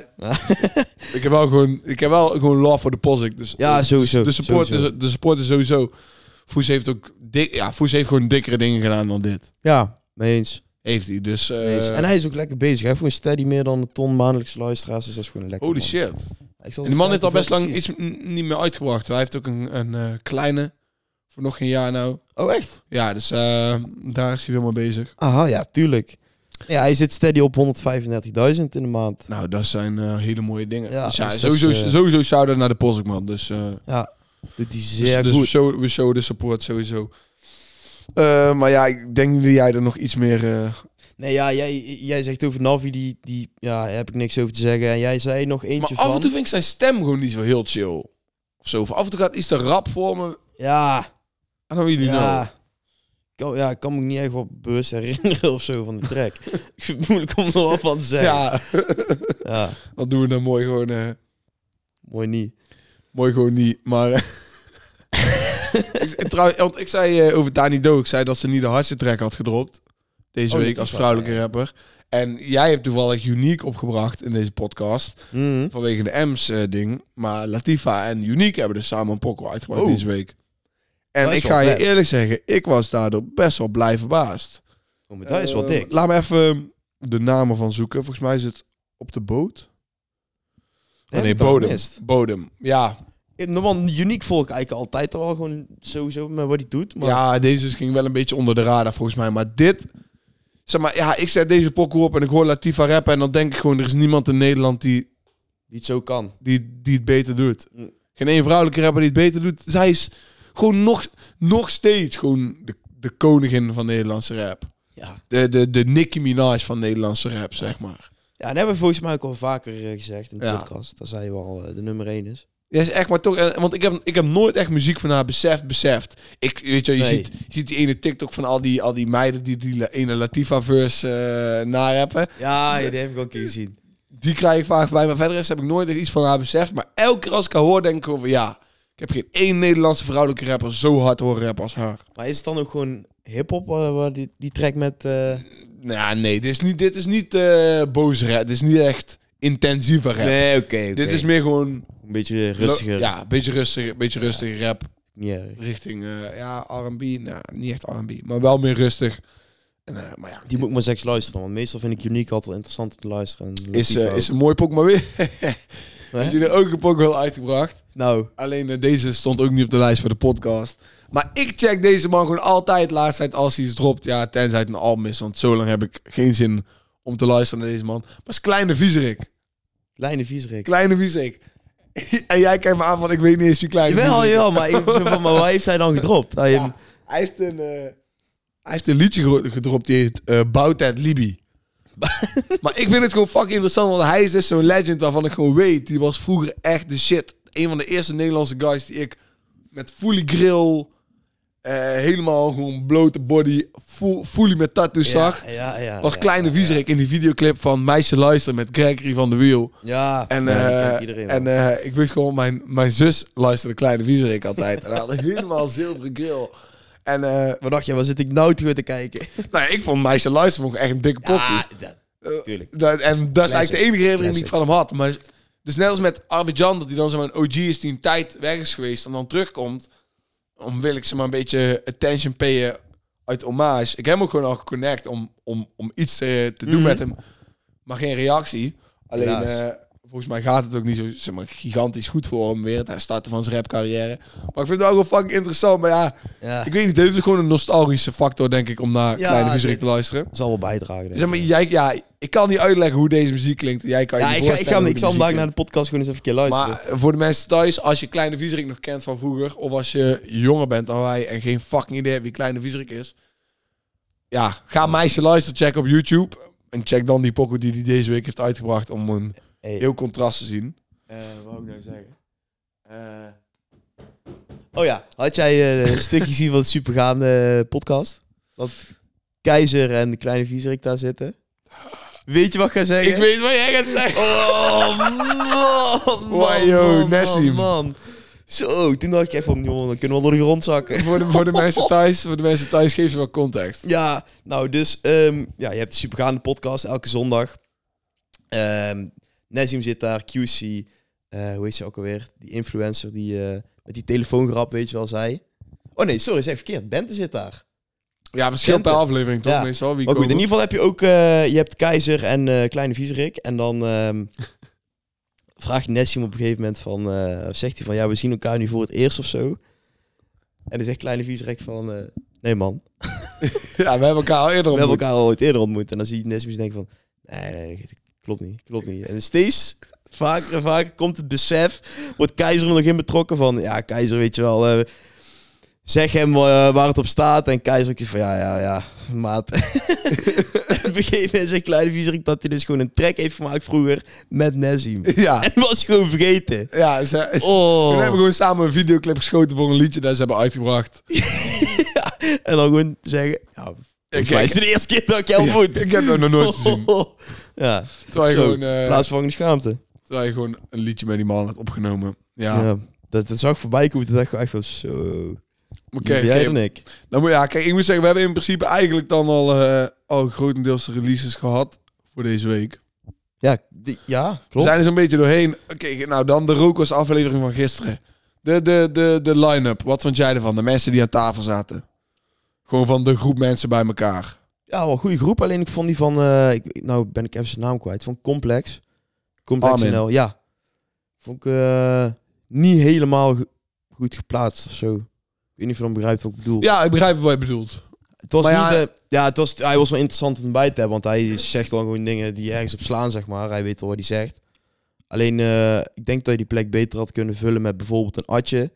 B: *laughs*
A: ik heb wel gewoon, ik heb wel gewoon love voor de posik. Dus
B: Ja, sowieso.
A: de support,
B: sowieso.
A: is, de support is sowieso... Foes heeft ook dik, ja, Foes heeft gewoon dikkere dingen gedaan dan dit.
B: Ja, mee eens.
A: Heeft hij, dus... eh,
B: Mee eens. en hij is ook lekker bezig. Hij heeft gewoon steady meer dan een ton maandelijkse luisteraars. Dus dat is gewoon lekker.
A: holy
B: man.
A: shit.
B: Ik zal
A: En die man
B: eens
A: heeft al best
B: kijken
A: lang
B: hoeveel
A: iets n- niet meer uitgebracht. Hij heeft ook een, een eh, kleine, voor nog geen jaar nou.
B: precies. Oh, echt?
A: Ja, dus eh, daar is hij veel mee bezig.
B: Aha, ja, tuurlijk. Ja, hij zit steady op 135.000 in de maand.
A: Nou, dat zijn eh, hele mooie dingen.
B: Ja,
A: dus ja,
B: dus dat is,
A: sowieso,
B: eh,
A: sowieso shout-out naar de Polsman. Dus, eh,
B: Ja, doet hij
A: dus,
B: zeer
A: dus we,
B: goed.
A: show, we showen de support sowieso. Eh, maar ja, ik denk dat jij er nog iets meer... eh,
B: Nee, ja, jij, jij zegt over Navi, die, die, ja, daar heb ik niks over te zeggen. En jij zei nog
A: Maar
B: eentje
A: af
B: van...
A: en toe vind ik zijn stem gewoon niet zo heel chill. Of zo. Of af en toe gaat iets te rap voor me.
B: Ja,
A: En dan jullie nou.
B: ja. Kan, ja, ik kan me ook niet echt wat bewust herinneren of zo van de track. *laughs* ik vind het moeilijk om er wat van te zeggen.
A: Ja,
B: ja
A: dat doen we dan mooi gewoon, eh,
B: mooi niet.
A: Mooi gewoon niet, maar... eh, *laughs* ik, trouw- want ik zei eh, over Dani Do, ik zei dat ze niet de hardste track had gedropt. Deze
B: Oh, dat
A: week
B: is
A: als
B: waar,
A: vrouwelijke
B: ja.
A: rapper. En jij hebt toevallig Unique opgebracht in deze podcast.
B: Mhm.
A: Vanwege de M's eh, ding. Maar Latifa en Unique hebben dus samen een pokoe uitgebracht
B: Oh.
A: deze week. En
B: Dat is
A: ik
B: wel
A: ga je
B: vet.
A: eerlijk zeggen, ik was daardoor best wel blij verbaasd.
B: Oh, maar dat is wel
A: Eh,
B: dik.
A: Laat me even de namen van zoeken. Volgens mij is het op de boot.
B: Heb
A: nee,
B: ik dat
A: bodem.
B: gemist?
A: Bodem. Ja,
B: Normaal een uniek volk eigenlijk altijd al gewoon sowieso met wat hij doet. Maar
A: Ja, deze ging wel een beetje onder de radar volgens mij. Maar dit... Zeg maar, ja, ik zet deze pokoe op en ik hoor Latifa rappen... en dan denk ik gewoon, er is niemand in Nederland die,
B: die het zo kan.
A: die, die het beter doet.
B: Mm.
A: Geen één vrouwelijke rapper die het beter doet. Zij is gewoon nog, nog steeds gewoon de, de koningin van Nederlandse rap.
B: Ja.
A: De, de, de Nicki Minaj van Nederlandse rap, zeg maar.
B: Ja, en hebben we volgens mij ook al vaker eh, gezegd in de
A: Ja.
B: podcast. Dat zij wel eh, de nummer één is.
A: Ja, is echt maar toch. eh, Want ik heb, ik heb nooit echt muziek van haar beseft. beseft. Ik, weet je, wel, je,
B: Nee.
A: ziet, je ziet die ene TikTok van al die, al die meiden die die la- ene Latifa-verse eh nareppen.
B: Ja, ja, die heb ik ook een keer gezien.
A: Die krijg ik vaak bij. Maar verder is, heb ik nooit echt iets van haar beseft. Maar elke keer als ik haar hoor, denk ik over ja. Ik heb geen één Nederlandse vrouwelijke rapper zo hard horen rappen als haar.
B: Maar is het dan ook gewoon hip-hop eh, waar die, die track met. eh,
A: Nou, ja, nee, dit is niet, dit is niet eh boze rap. Dit is niet echt intensieve rap.
B: Nee, oké. oké.
A: Dit is meer gewoon...
E: Een beetje rustiger.
A: Ja, een beetje rustiger, beetje rustiger rap.
B: niet erg.
A: richting eh, ja, R&B. Nou, niet echt R&B, maar wel meer rustig. En, eh, maar ja,
B: Die moet ik maar seks luisteren, want meestal vind ik Unique altijd wel interessant om te luisteren. En
A: is,
B: Latifah
A: eh, is
B: ook.
A: een mooi pok, maar
B: *laughs*
A: weer. Heb jullie ook een pok wel uitgebracht.
B: Nou,
A: Alleen eh, deze stond ook niet op de lijst voor de podcast. Maar ik check deze man gewoon altijd laatst tijd als hij iets dropt. Ja, tenzij het een album is, want zo lang heb ik geen zin om te luisteren naar deze man. Maar het is Kleine Viezerik.
B: kleine viezerik.
A: Kleine Viezerik. *laughs* en jij kijkt me aan van ik weet niet eens wie Kleine
B: Jawel,
A: Viezerik is.
B: jawel, maar, ik, zo van, maar wat heeft hij dan gedropt? Hij,
A: Ja, hij heeft een, eh, hij heeft een liedje gero- gedropt, die heet eh Bouwtijd Libi. *laughs* maar ik vind het gewoon fucking interessant, want hij is dus zo'n legend waarvan ik gewoon weet, die was vroeger echt de shit. Een van de eerste Nederlandse guys die ik met fully grill, eh, helemaal gewoon blote body, full, fully met tattoos zag.
B: Ja, ja, ja.
A: Was
B: ja,
A: Kleine
B: ja,
A: Viezerik in die videoclip van Meisje Luister met Gregory van de Wiel.
B: Ja,
A: En,
B: ja, die
A: eh,
B: kent iedereen
A: en
B: wel.
A: eh, ik wist gewoon, mijn, mijn zus luisterde Kleine Viezerik altijd. En hij had *laughs* een helemaal zilveren grill. En eh,
B: Wat dacht je, waar zit ik nou toe te
A: *laughs*
B: kijken?
A: nou, ja, ik vond Meisje Luister vond ik echt een dikke poppy.
B: dat, tuurlijk.
A: en dat is eigenlijk de enige herinnering die
B: Classic.
A: ik van hem had. Maar dus net als met Arbidjan, dat hij dan zo'n OG is die een tijd weg is geweest en dan terugkomt. Om wil ik ze maar een beetje attention payen uit hommage. Ik heb hem ook gewoon al geconnect om, om, om iets eh, te doen met hem. Maar geen reactie. Alleen
B: Mhm. Helaas.
A: eh, volgens mij gaat het ook niet zo zeg maar, gigantisch goed voor hem weer. Het starten van zijn rapcarrière. Maar ik vind het ook wel fucking interessant. Maar ja,
B: Ja,
A: ik weet niet. Het is gewoon een nostalgische factor, denk ik, om naar
B: Ja,
A: Kleine Viezerik
B: dit-
A: te luisteren.
B: zal wel bijdragen. denk
A: Zeg maar, jij, ja, ik kan niet uitleggen hoe deze muziek klinkt. Jij kan je
B: ja, ik, ga,
A: voorstellen
B: ik, ga,
A: hoe
B: ik
A: de
B: zal hem
A: muziek
B: naar de podcast gewoon eens even een keer luisteren.
A: klinkt. Maar voor de mensen thuis, als je Kleine Viezerik nog kent van vroeger... of als je jonger bent dan wij en geen fucking idee hebt wie Kleine Viezerik is... ja, ga Meisje Luister checken op YouTube. En check dan die pokoe die hij deze week heeft uitgebracht... om een
B: Hey.
A: heel contrast te zien.
B: Eh, wat wou ik nou zeggen? Eh, oh ja, had jij
A: *laughs*
B: eh, een stukje gezien van de supergaande podcast? Dat Keizer en de kleine viezerik daar zitten. Weet je wat ik ga zeggen?
A: Ik weet wat jij gaat zeggen.
B: Oh man, man,
A: Wai, yo,
B: man, man,
A: Nassim.
B: man. Zo, toen dacht ik echt van, joh, dan kunnen we wel door de grond zakken.
A: voor, de, voor, de mensen thuis, voor de mensen thuis geef ze wel context.
B: Ja, nou dus, ehm, ja, je hebt de supergaande podcast elke zondag. Ehm Nazim zit daar, QC, eh, hoe heet ze ook alweer? Die influencer die eh, met die telefoongrap, weet je wel, zei. Oh nee, sorry, zei verkeerd. Bente zit daar.
A: Ja, verschil per
B: Kenten.
A: aflevering toch
B: Ja.
A: meestal. Wie
B: Maar goed, in
A: komen.
B: ieder geval heb je ook, eh, je hebt Keizer en eh, Kleine Viezerik. En dan ehm, vraagt Nessim op een gegeven moment van, eh, of zegt hij van, ja, we zien elkaar nu voor het eerst of zo. En dan zegt Kleine Viezerik van, eh, nee man,
A: Ja, we hebben elkaar al eerder
B: We hebben
A: ontmoet.
B: elkaar al ooit eerder ontmoet. En dan zie je Nesbius denken van... Nee, nee, dat klopt niet. Klopt niet. En steeds vaker en vaker komt het besef... Wordt Keizer er nog in betrokken van... Ja, Keizer, weet je wel... eh, zeg hem eh, waar het op staat. En Keizer ook van... Ja, ja, ja, maat. *laughs* op een gegeven moment zei Kleine Viezerik... Dat hij dus gewoon een track heeft gemaakt vroeger... Met Nezim.
A: Ja,
B: En was gewoon vergeten.
A: ja ze, Toen hebben we
B: Oh.
A: gewoon samen een videoclip geschoten voor een liedje dat ze hebben uitgebracht.
B: En dan gewoon zeggen... Ja, ik
A: kijk.
B: is het de eerste keer dat ik jou
A: Ja,
B: ontmoet.
A: ik heb dat nog nooit gezien.
B: *laughs* Ja.
A: Terwijl je,
B: Zo,
A: gewoon, eh,
B: plaatsvervangende schaamte.
A: terwijl je gewoon een liedje met die man had opgenomen. Ja,
B: Ja. Dat, dat zag ik voorbij komen. Toen dacht ik echt van zo.
A: oké.
B: Oké, jij
A: oké.
B: dan ik.
A: Dan moet, ja, kijk, ik moet zeggen, we hebben in principe eigenlijk dan al, eh, al grotendeels de releases gehad voor deze week.
B: Ja, die- ja
A: We
B: klopt.
A: zijn er zo'n beetje doorheen. Oké, nou dan de Rokos aflevering van gisteren. De, de, de, de line-up. Wat vond jij ervan? De mensen die aan tafel zaten. Gewoon van de groep mensen bij elkaar.
B: Ja, wel een goede groep. Alleen ik vond die van. eh, ik, nou ben ik even zijn naam kwijt. Van Complex. Complex
A: Armin.
B: NL. Ja. Vond ik eh, niet helemaal ge- goed geplaatst of zo. Ik weet niet of je dan begrijpt wat ik bedoel.
A: Ja, ik begrijp wat je bedoelt.
B: Het was
A: Maar
B: niet,
A: ja-
B: eh, ja, het was, hij was wel interessant om bij te hebben, want hij zegt dan gewoon dingen die ergens op slaan, zeg maar. Hij weet al wat hij zegt. Alleen, eh, ik denk dat je die plek beter had kunnen vullen met bijvoorbeeld een atje,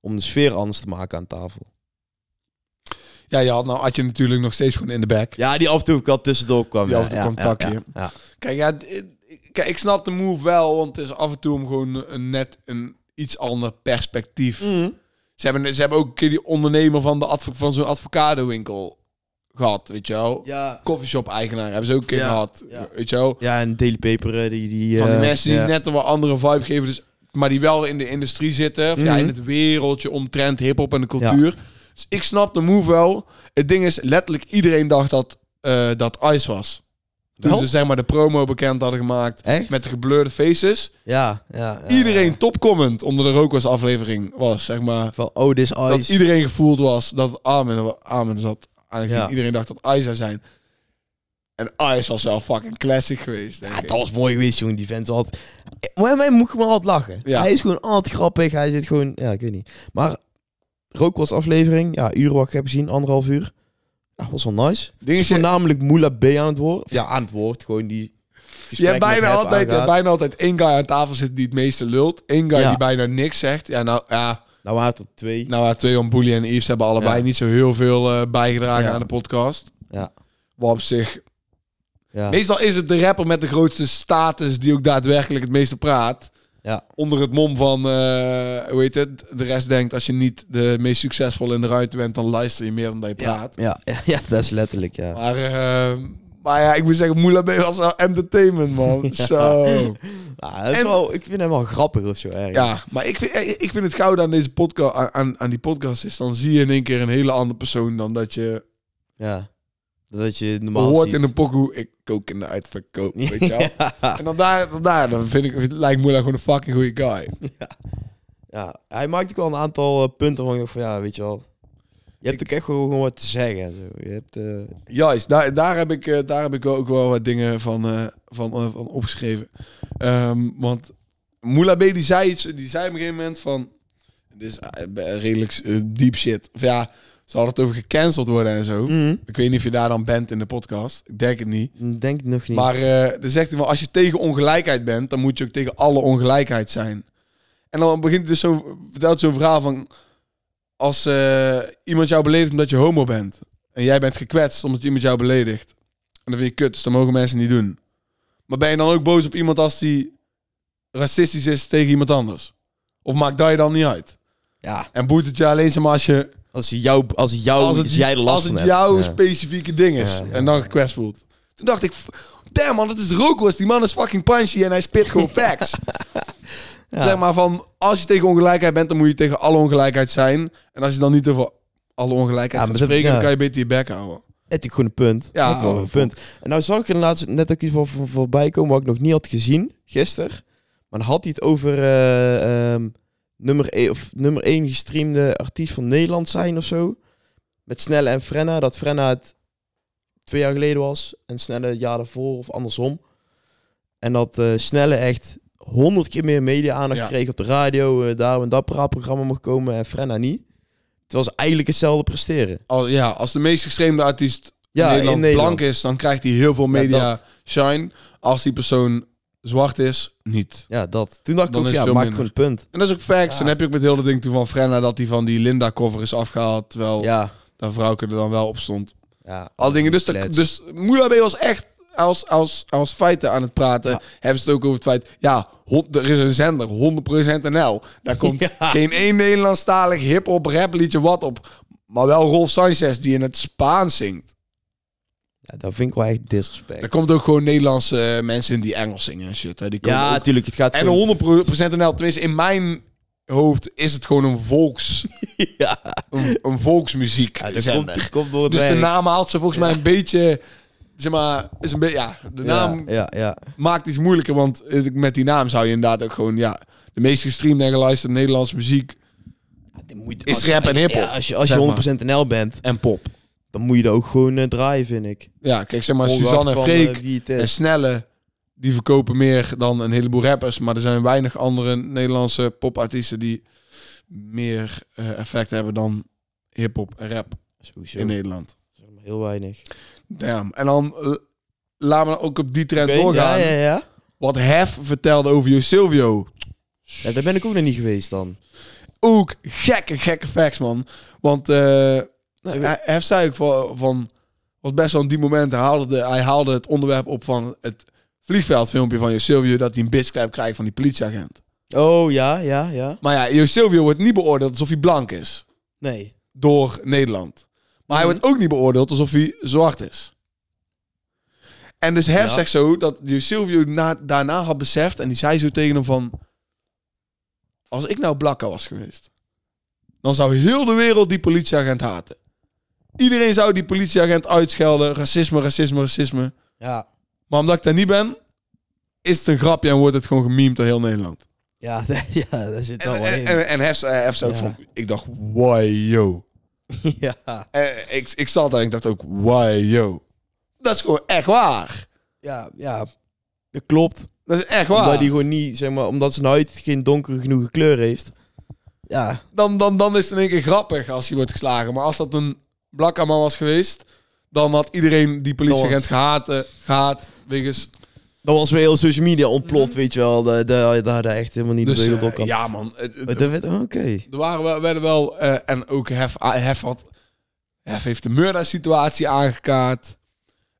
B: om de sfeer anders te maken aan tafel.
A: Ja, je had nou Adje natuurlijk nog steeds gewoon in de back.
B: Ja, die af en toe ik al tussendoor kwam.
A: Die
B: ja,
A: af en toe
B: ja,
A: kwam
B: ja,
A: pakje.
B: ja, ja.
A: Kijk, ja, d- ik- kijk, ik snap de move wel, want het is af en toe om gewoon een, net een iets ander perspectief.
B: Mhm.
A: Ze, hebben, ze hebben ook een keer die ondernemer van, de advo- van zo'n advocatenwinkel gehad, weet je wel.
B: Ja.
A: Coffeeshop-eigenaar hebben ze ook een keer
B: Ja,
A: gehad,
B: ja.
A: weet je wel.
B: Ja, en Daily Paper, eh, die... die
A: Van die
B: eh,
A: mensen die
B: ja.
A: net een wat andere vibe geven, dus, maar die wel in de industrie zitten. Of ja,
B: Mhm.
A: in het wereldje omtrent hip-hop en de cultuur. Dus ik snap de move wel. Het ding is, letterlijk iedereen dacht dat, eh, dat Ice was. Toen
B: Wel?
A: ze zeg maar de promo bekend hadden gemaakt
B: Oh. Echt? Ah.
A: met de geblurde faces.
B: Ja, ja. ja,
A: Iedereen topcomment onder de Rokos aflevering was, zeg maar.
B: ja. Van, oh, this
A: Dat
B: ice.
A: iedereen gevoeld was dat Armin, Armin zat. Eigenlijk
B: Ja.
A: Iedereen dacht dat Ice zou zijn. En Ice was wel fucking classic geweest, denk
B: Ja,
A: ik.
B: Ah, dat was mooi geweest, jongen. Die vent had... Maar mij moet gewoon altijd lachen.
A: Ja.
B: Hij is gewoon altijd grappig. Hij zit gewoon... Ja, ik weet niet. Maar Rookwas aflevering. Ja, uren wat ik heb gezien. Anderhalf uur. Ja, was wel nice.
A: Ding
B: Ding
A: is,
B: is
A: je-
B: voornamelijk Moula B aan het woord. Of Ja, aan het woord. Gewoon die...
A: Je hebt, bijna altijd, je hebt
B: Nou,
A: bijna altijd één guy aan tafel zitten die het meeste lult. Eén guy
B: Ja.
A: die bijna niks zegt. Ja, nou ja,
B: nou waren het er twee.
A: nou, ja, twee van Boelie en Yves hebben allebei
B: Ja.
A: niet zo heel veel eh, bijgedragen
B: Ja.
A: aan de podcast.
B: Ja.
A: Wat op zich...
B: Ja.
A: Meestal is het de rapper met de grootste status die ook daadwerkelijk het meeste praat.
B: Ja.
A: Onder het mom van, eh, hoe heet het? De rest denkt, als je niet de meest succesvolle in de ruimte bent, dan luister je meer dan dat je praat.
B: Ja, ja, ja, dat is letterlijk, ja.
A: Maar, eh, maar ja, ik moet zeggen, Moula B was wel entertainment, man.
B: *laughs*
A: Zo.
B: Ja, Ah, dat is
A: En-
B: wel, ik vind hem wel grappig of zo. Erg.
A: Ja, maar ik vind, eh, ik vind het goud aan deze podcast, aan- aan, aan die podcast is, dan zie je in één keer een hele andere persoon dan dat je
B: Ja. Dat je normaal
A: hoort
B: ziet.
A: in een pokoe. Ik kook in de uitverkoop, weet je wel.
B: *laughs* Ja.
A: En dan daar, dan daar, dan vind ik, lijkt Moela gewoon een fucking goede guy.
B: *laughs* Ja, hij maakt ook wel een aantal eh, punten waarvan ik dacht van, ja, weet je wel. Je hebt ook echt gewoon gewoon wat te zeggen. en Zo. Je hebt, eh,
A: Juist, daar, daar, heb ik, eh, daar heb ik wel ook wel wat dingen van, eh, van, eh, van opgeschreven. Ehm, want Moela B. die zei iets, die zei op een gegeven moment van... Dit is eh, redelijk eh, deep shit. Of ja, ze hadden het over gecanceld worden en zo.
B: Mhm.
A: Ik weet niet of je daar dan bent in de podcast. Ik denk het niet.
B: Denk ik nog niet.
A: Maar eh dan zegt hij wel, als je tegen ongelijkheid bent, dan moet je ook tegen alle ongelijkheid zijn. En dan begint hij dus zo, vertelt zo'n verhaal van, als eh, iemand jou beledigt omdat je homo bent, en jij bent gekwetst omdat iemand jou beledigt, en dan vind je kut, dus dat mogen mensen niet doen. Maar ben je dan ook boos op iemand als die racistisch is tegen iemand anders? Of maakt dat je dan niet uit?
B: ja,
A: En boeit het je alleen zeg maar als je
B: als hij jou, als hij jou, Oh, als jij er last
A: als
B: van
A: het
B: hebt.
A: jouw
B: Ja.
A: specifieke ding is.
B: Ja, ja,
A: en dan gekwetst voelt. Toen dacht ik, f- damn man, dat is Rokos. Die man is fucking punchy en hij spit
B: *laughs*
A: gewoon facts. Zeg maar van, als je tegen ongelijkheid bent, dan moet je tegen alle ongelijkheid zijn. En als je dan niet over alle ongelijkheid
B: Ja,
A: gaat
B: maar dat-
A: spreken, dan
B: ja.
A: kan je beter je bek houden.
B: Het is gewoon een punt.
A: Ja,
B: Ja, het is wel
A: oh,
B: een punt. En nou zag ik er laatst net ook iets van voor, voorbij komen wat ik nog niet had gezien gisteren. Maar dan had hij het over eh, ehm, nummer, 1, of nummer 1 gestreamde artiest van Nederland zijn of zo. Met Snelle en Frenna. Dat Frenna het twee jaar geleden was en Snelle het jaar daarvoor of andersom. En dat eh, Snelle echt honderd keer meer media-aandacht
A: Ja.
B: kreeg op de radio. eh, daar en dat programma mocht komen en Frenna niet. Terwijl ze eigenlijk hetzelfde presteren.
A: Al, ja, als de meest geschreven artiest
B: Ja,
A: in
B: in
A: Nederland,
B: Nederland.
A: blank is, dan krijgt hij heel veel media
B: dat.
A: shine. Als die persoon zwart is, niet.
B: Ja, dat. Toen dacht
A: Dan
B: ik ook,
A: is
B: ja,
A: het
B: maak
A: veel
B: gewoon
A: minder.
B: een punt.
A: En dat is ook facts. En dan heb je ook met heel dat ding toe van Frenna dat hij van die Linda-cover is afgehaald. Terwijl
B: Ja.
A: dat vrouwke er dan wel op stond.
B: ja.
A: Oh. Al dingen. Dus, dat,
B: Klets.
A: dus Moula B was echt als, als, als feiten aan het praten. Hebben ze het ook over het feit... Ja, hon- er is een zender, 100% NL. Daar *laughs* komt geen één Nederlandstalig hip-hop rap liedje wat op. Maar wel Rolf Sanchez die in het Spaans zingt.
B: ja, dat vind ik wel echt
A: Er
B: disrespect.
A: komt ook gewoon Nederlandse eh, mensen in die Engels zingen en shit. Hè. Die komen
B: Ja,
A: ook-
B: natuurlijk. Het gaat gewoon-
A: en 100% NL. Tenminste, in mijn hoofd is het gewoon een *laughs* volks...
B: Ja,
A: Een, een volksmuziek
B: ja, dat
A: zender.
B: komt, dat komt door het
A: Dus de
B: werk.
A: naam haalt ze volgens mij een beetje... Zeg maar, is een beetje... Ja, de naam
B: Ja, ja, ja.
A: maakt iets moeilijker, want eh, met die naam zou je inderdaad ook gewoon, ja, de meest gestreamde en geluisterde Nederlandse muziek Is
B: Als-
A: rap en hiphop,
B: Ja, als je, als je
A: zeg
B: 100% NL bent,
A: en pop.
B: dan moet je dat ook gewoon eh, draaien, vind ik.
A: Ja, kijk, zeg maar,
B: Ongeacht
A: Suzanne en
B: van,
A: Freek
B: eh, wie het
A: en
B: is.
A: Snelle die verkopen meer dan een heleboel rappers. Maar er zijn weinig andere Nederlandse popartiesten die meer eh, effect hebben dan hip-hop en rap
B: Sowieso.
A: in Nederland.
B: Zeg maar Heel weinig.
A: Damn. En dan eh, laat me ook op die trend
B: Oké,
A: doorgaan.
B: ja, ja, ja.
A: Wat Hef vertelde over Jo Silvio.
B: ja. Daar ben ik ook nog niet geweest dan.
A: ook gekke, gekke facts, man. Want eh nou, hij, hij zei ook van, van... Was best wel in die moment... Haalde de- hij haalde het onderwerp op van het vliegveldfilmpje van Jo Silvio... dat hij een bitchclap krijgt van die politieagent.
B: Oh, ja, ja, ja.
A: Maar ja, Jo Silvio wordt niet beoordeeld alsof hij blank is.
B: Nee.
A: Door Nederland. Maar hij
B: Mhm.
A: wordt ook niet beoordeeld alsof hij zwart is. En dus Hef
B: Ja.
A: zegt zo dat Jo Silvio na, daarna had beseft... en die zei zo tegen hem van... Als ik nou Blakka was geweest... dan zou heel de wereld die politieagent haten. Iedereen zou die politieagent uitschelden. Racisme, racisme, racisme.
B: Ja.
A: Maar omdat ik daar niet ben... is het een grapje en wordt het gewoon gememd door heel Nederland.
B: Ja, *laughs* ja daar zit Nou, wel
A: En,
B: wat
A: en,
B: in.
A: en, en Hef, zei- Hef zei ook
B: Ja.
A: van... Ik dacht, why yo...
B: *laughs* Ja.
A: Eh, ik, ik zat daar en ik dacht ook, why yo. Dat is gewoon echt waar.
B: Ja, ja. Dat klopt.
A: Dat is echt
B: Omdat
A: waar.
B: die gewoon niet, zeg maar, omdat zijn huid geen donkere genoeg kleur heeft. Ja.
A: Dan, dan, dan is het in één keer grappig als hij wordt geslagen. Maar als dat een blakke man was geweest, dan had iedereen die politieagent gehaat, eh, gehaat wegens...
B: Dan was weer heel social media ontploft, weet je wel. Daar daar daar daar echt helemaal niet
A: Dus
B: bedoeld
A: eh,
B: op kan.
A: ja man, het- het-
B: Maar dat werd- oh, Oké.
A: er waren, wel- werden wel... eh, en ook Hef, ah, Hef, had, Hef heeft de Murda-situatie aangekaart.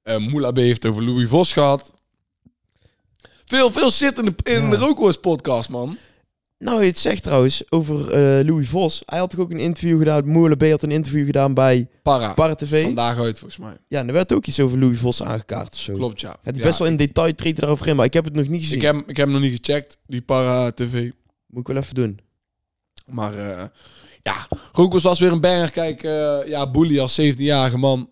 A: Eh Moela B heeft over Louis Vos gehad. Veel, veel shit in de, in de Rookworst podcast, man.
B: Nou, je het zegt trouwens over eh, Louis Vos. Hij had toch ook een interview gedaan. Moerle B had een interview gedaan bij
A: Para.
B: Parra TV.
A: Vandaag uit, volgens mij.
B: Ja, en er werd ook iets over Louis Vos aangekaart of zo.
A: Klopt, ja.
B: Het is
A: Ja.
B: best wel in detail treedt hij daarover in, maar ik heb het nog niet gezien.
A: Ik heb, ik heb hem nog niet gecheckt, die para-tv.
B: Moet ik wel even doen.
A: Maar eh, ja, Roekels was weer een banger. Kijk, eh, ja, Boelie als 17-jarige man.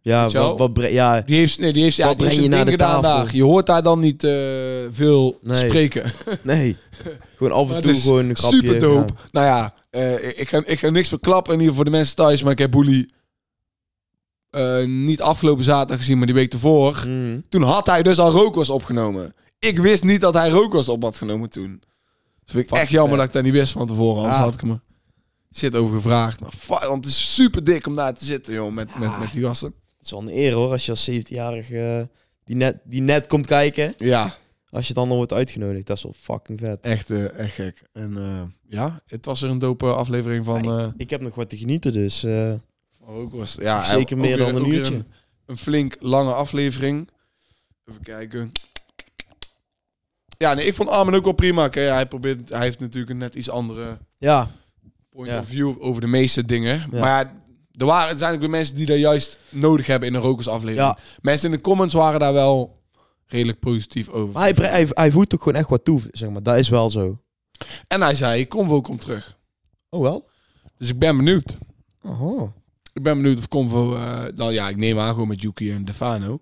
B: Ja,
A: Weet je wel?
B: wat, wat bre- ja,
A: Die heeft, nee, die heeft, ja,
B: Wat
A: die heeft
B: breng je
A: zijn
B: naar
A: ding
B: de
A: gedaan
B: tafel?
A: daar. Je hoort daar dan niet eh, veel
B: Nee.
A: spreken.
B: nee. gewoon af en
A: *laughs* Maar
B: toe
A: het is
B: gewoon een grapje.
A: Super dope.
B: Ja.
A: Nou ja, eh, ik, ga, ik ga niks verklappen in ieder geval voor de mensen thuis. Maar ik heb Boelie eh, niet afgelopen zaterdag gezien, maar die week ervoor.
B: Mm.
A: Toen had hij dus al rookwas opgenomen. Ik wist niet dat hij rookwas op had genomen toen. Dus vind ik
B: Fuck,
A: echt jammer
B: vet.
A: dat ik dat niet wist van tevoren. Anders
B: Ja.
A: had ik me shit over gevraagd. Maar fuck, want het is super dik om daar te zitten, joh. Met, met, met die gasten.
B: Het is wel een eer hoor, als je als 17-jarige eh, die, net, die net komt kijken.
A: Ja,
B: Als je dan al wordt uitgenodigd, dat is wel fucking vet.
A: echt, eh, echt gek. En eh, ja, het was weer een dope aflevering van
B: Ja,
A: eh
B: Ik heb nog wat te genieten, dus eh,
A: rookwas. Ja,
B: zeker
A: ook
B: meer dan
A: weer-
B: een
A: ook weer
B: uurtje.
A: Een, een flink lange aflevering. Even kijken. Ja, nee, ik vond Armin ook wel prima. Oké, hij, probeert, hij heeft natuurlijk een net iets andere...
B: Ja,
A: point
B: Ja.
A: of view over de meeste dingen.
B: Ja.
A: Maar ja, er waren, er zijn ook weer mensen die dat juist nodig hebben in een rokersaflevering.
B: Ja.
A: Mensen in de comments waren daar wel redelijk positief over.
B: maar hij, bre- hij, hij voert ook gewoon echt wat toe, zeg maar. Dat is wel zo.
A: En hij zei, Convo komt terug.
B: Oh wel?
A: Dus ik ben benieuwd.
B: Oh,
A: Ik ben benieuwd of Convo... eh nou ja, ik neem aan gewoon met Yuki en Defano.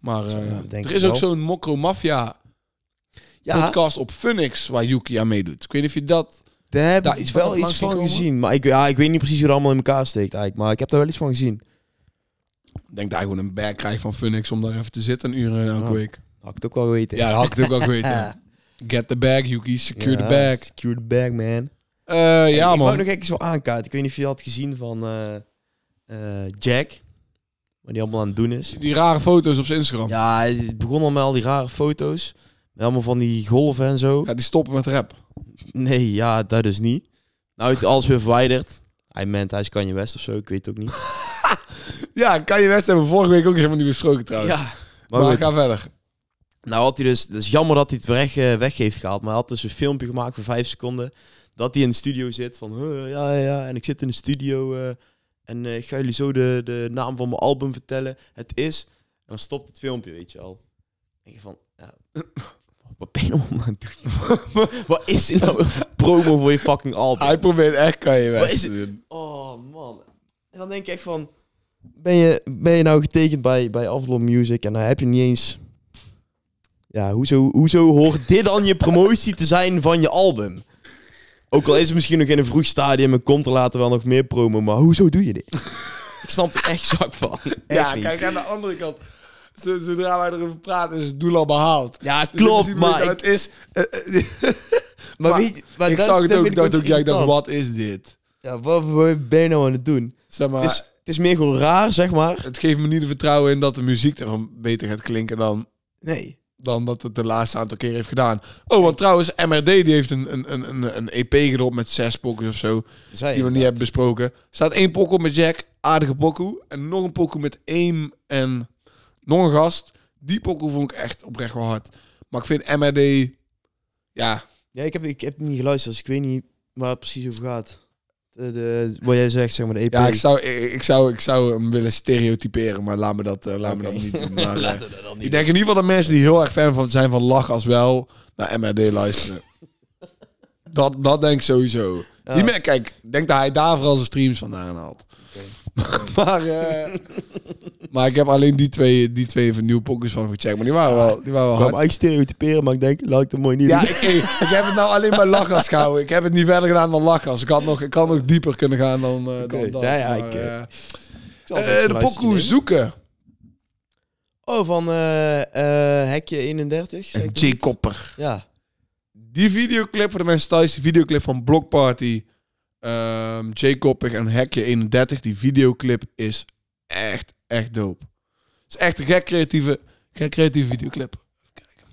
A: Maar eh,
B: Ja, denk
A: er
B: ik
A: is ook
B: wel.
A: zo'n Mokro Mafia
B: Ja.
A: podcast op Funix waar Yuki aan meedoet. Ik weet niet of je dat...
B: daar heb
A: Daar
B: ik
A: iets van
B: wel
A: op
B: iets
A: langs
B: van
A: gekomen?
B: gezien. Maar ik, ja, ik weet niet precies hoe het allemaal in elkaar steekt eigenlijk. Maar ik heb daar wel iets van gezien.
A: Ik denk dat hij gewoon een bag krijgt van Funix om daar even te zitten een uur in elke
B: Ja.
A: week.
B: Had ik het ook wel weten.
A: Ja, dat had ik het ook
B: *laughs*
A: wel geweten. Get the bag, Yuki. Secure the
B: Ja,
A: bag.
B: Secure the bag, man.
A: Eh, ja,
B: ik wou
A: man.
B: nog even zo aankaarten. Ik weet niet of je dat had gezien van eh, eh, Jack. Wat die allemaal aan het doen is.
A: Die rare foto's op zijn Instagram.
B: Ja, het begon al met al die rare foto's. Met allemaal van die golven en zo.
A: Gaat die stoppen met rap?
B: Nee, ja, dat dus niet. Nou is alles weer verwijderd. Hij meent, hij is Kanye West of zo, ik weet het ook niet.
A: Ja, kan je best hebben. we Vorige week ook helemaal niet besproken trouwens.
B: Ja,
A: maar
B: maar goed.
A: ga verder.
B: Nou had hij dus, het is jammer dat hij het weg, eh, weg heeft gehaald, maar hij had dus een filmpje gemaakt van vijf seconden. Dat hij in de studio zit van, "Huh, ja, ja, ja, en ik zit in de studio eh, en eh, ik ga jullie zo de, de naam van mijn album vertellen. Het is, en dan stopt het filmpje, weet je al. En je van, ja, *laughs* wat ben je nou aan het doen? *laughs* wat is dit nou een promo voor je fucking album?
A: Hij probeert echt kan je
B: Wat
A: best.
B: is Oh man. En dan denk ik echt van. Ben je, ben je nou getekend bij, bij Avlon Music en dan heb je niet eens. Ja, hoezo, hoezo hoort dit dan je promotie te zijn van je album? Ook al is het misschien nog in een vroeg stadium en komt er later wel nog meer
A: *laughs*
B: promo, maar hoezo doe je dit? ik snap er echt zak van. Echt
A: Ja,
B: niet.
A: kijk aan de andere kant. zo- zodra wij erover praten, is het doel al behaald.
D: Ja,
A: Dus in
D: klopt,
A: principe
D: maar
A: weet je,
D: ik,
A: het is... eh, eh,
D: maar
A: maar
D: weet je, maar
A: ik
D: dat
A: zag
D: is-
A: het
D: dat
A: ook,
D: vind
A: ik dacht ook, ja, ik dacht,
D: irritant.
A: wat is dit?
D: Ja, wat, wat ben je nou aan het doen?
A: Zeg maar,
D: het, is, het is meer gewoon raar, zeg maar.
A: het geeft me niet het vertrouwen in dat de muziek ervan beter gaat klinken dan,
D: Nee.
A: dan dat het de laatste aantal keer heeft gedaan. Oh, want trouwens, MRD die heeft een, een, een, een, een EP gedropt met zes pokken of zo.
D: Zij,
A: die we niet hebben besproken. Er staat één pokoe met Jack, aardige pokoe. En nog een pokoe met Aim en nog een gast. Die pokoe vond ik echt oprecht wel hard. Maar ik vind MRD... Ja,
D: Ja, ik heb, ik heb niet geluisterd, dus ik weet niet waar het precies over gaat. De, de, wat jij zegt, zeg maar, de E EP.
A: ja ik, zou, ik, ik zou, ik zou hem willen stereotyperen, maar laat me dat, eh, laat me
D: Oké.
A: dat niet
D: *laughs*
A: doen. Maar, eh,
D: we dat dan
A: ik denk in ieder geval dat mensen die heel erg fan van zijn van Lach als wel naar MRD
D: *laughs*
A: luisteren. dat, dat denk ik sowieso.
D: Ja.
A: Die men, kijk, ik denk dat hij daar vooral zijn streams vandaan haalt. *laughs*
D: *laughs*
A: maar, eh, maar ik heb alleen die twee, die twee van nieuwe pokus van gecheckt. Maar die waren wel, die waren wel
D: Ik kwam
A: hard.
D: eigenlijk stereotyperen, maar ik denk, laat ik dat mooi niet
A: Ja,
D: doen.
A: ik, ik, ik heb het nou alleen maar lachgas gehouden. Ik heb het niet verder gedaan dan lachgas. Ik had nog, ik had nog dieper kunnen gaan dan, eh,
D: Oké,
A: dan dat.
D: nou ja,
A: Maar,
D: ik, eh,
A: eh,
D: Ik zal
A: eh,
D: het even
A: de
D: luisteren,
A: pokoe
D: denk ik.
A: zoeken.
D: Oh, van eh, eh, Hekje 31. zeg ik dat?
A: Kopper.
D: Ja.
A: Die videoclip voor de mensen thuis, die videoclip van Block Party, ehm J. Koppig en Hekje 31, die videoclip is echt, echt dope. Het is echt een gek creatieve, gek creatieve videoclip. Even kijken.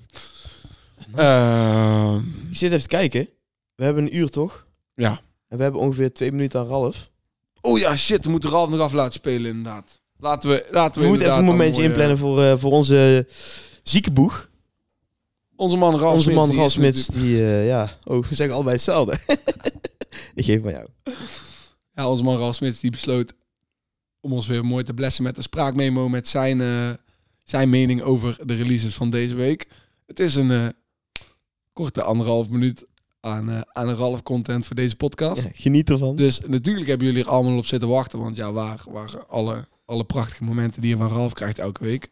A: Ehm,
D: Ik zit even te kijken. We hebben een uur, toch?
A: Ja.
D: En we hebben ongeveer twee minuten aan Ralf.
A: oh ja, shit, we moeten Ralf nog af laten spelen inderdaad. Laten we, laten
D: We
A: we
D: moeten even
A: inderdaad
D: een momentje
A: mooie-
D: inplannen voor, eh, voor onze zieke boeg.
A: eh, Onze man Ralf
D: onze
A: Smits,
D: man
A: die
D: Ralf
A: is
D: Smits,
A: natuurlijk-
D: die... eh, ja. Oh, we zeggen allebei hetzelfde. *laughs* ik geef van jou.
A: Ja, onze man Ralf Smits die besloot om ons weer mooi te blessen met een spraakmemo met zijn, eh, zijn mening over de releases van deze week. Het is een eh, korte anderhalf minuut aan, eh, aan een Ralf content voor deze podcast.
D: Ja, geniet ervan.
A: Dus natuurlijk hebben jullie er allemaal op zitten wachten, want ja, waar waren alle, alle prachtige momenten die je van Ralf krijgt elke week?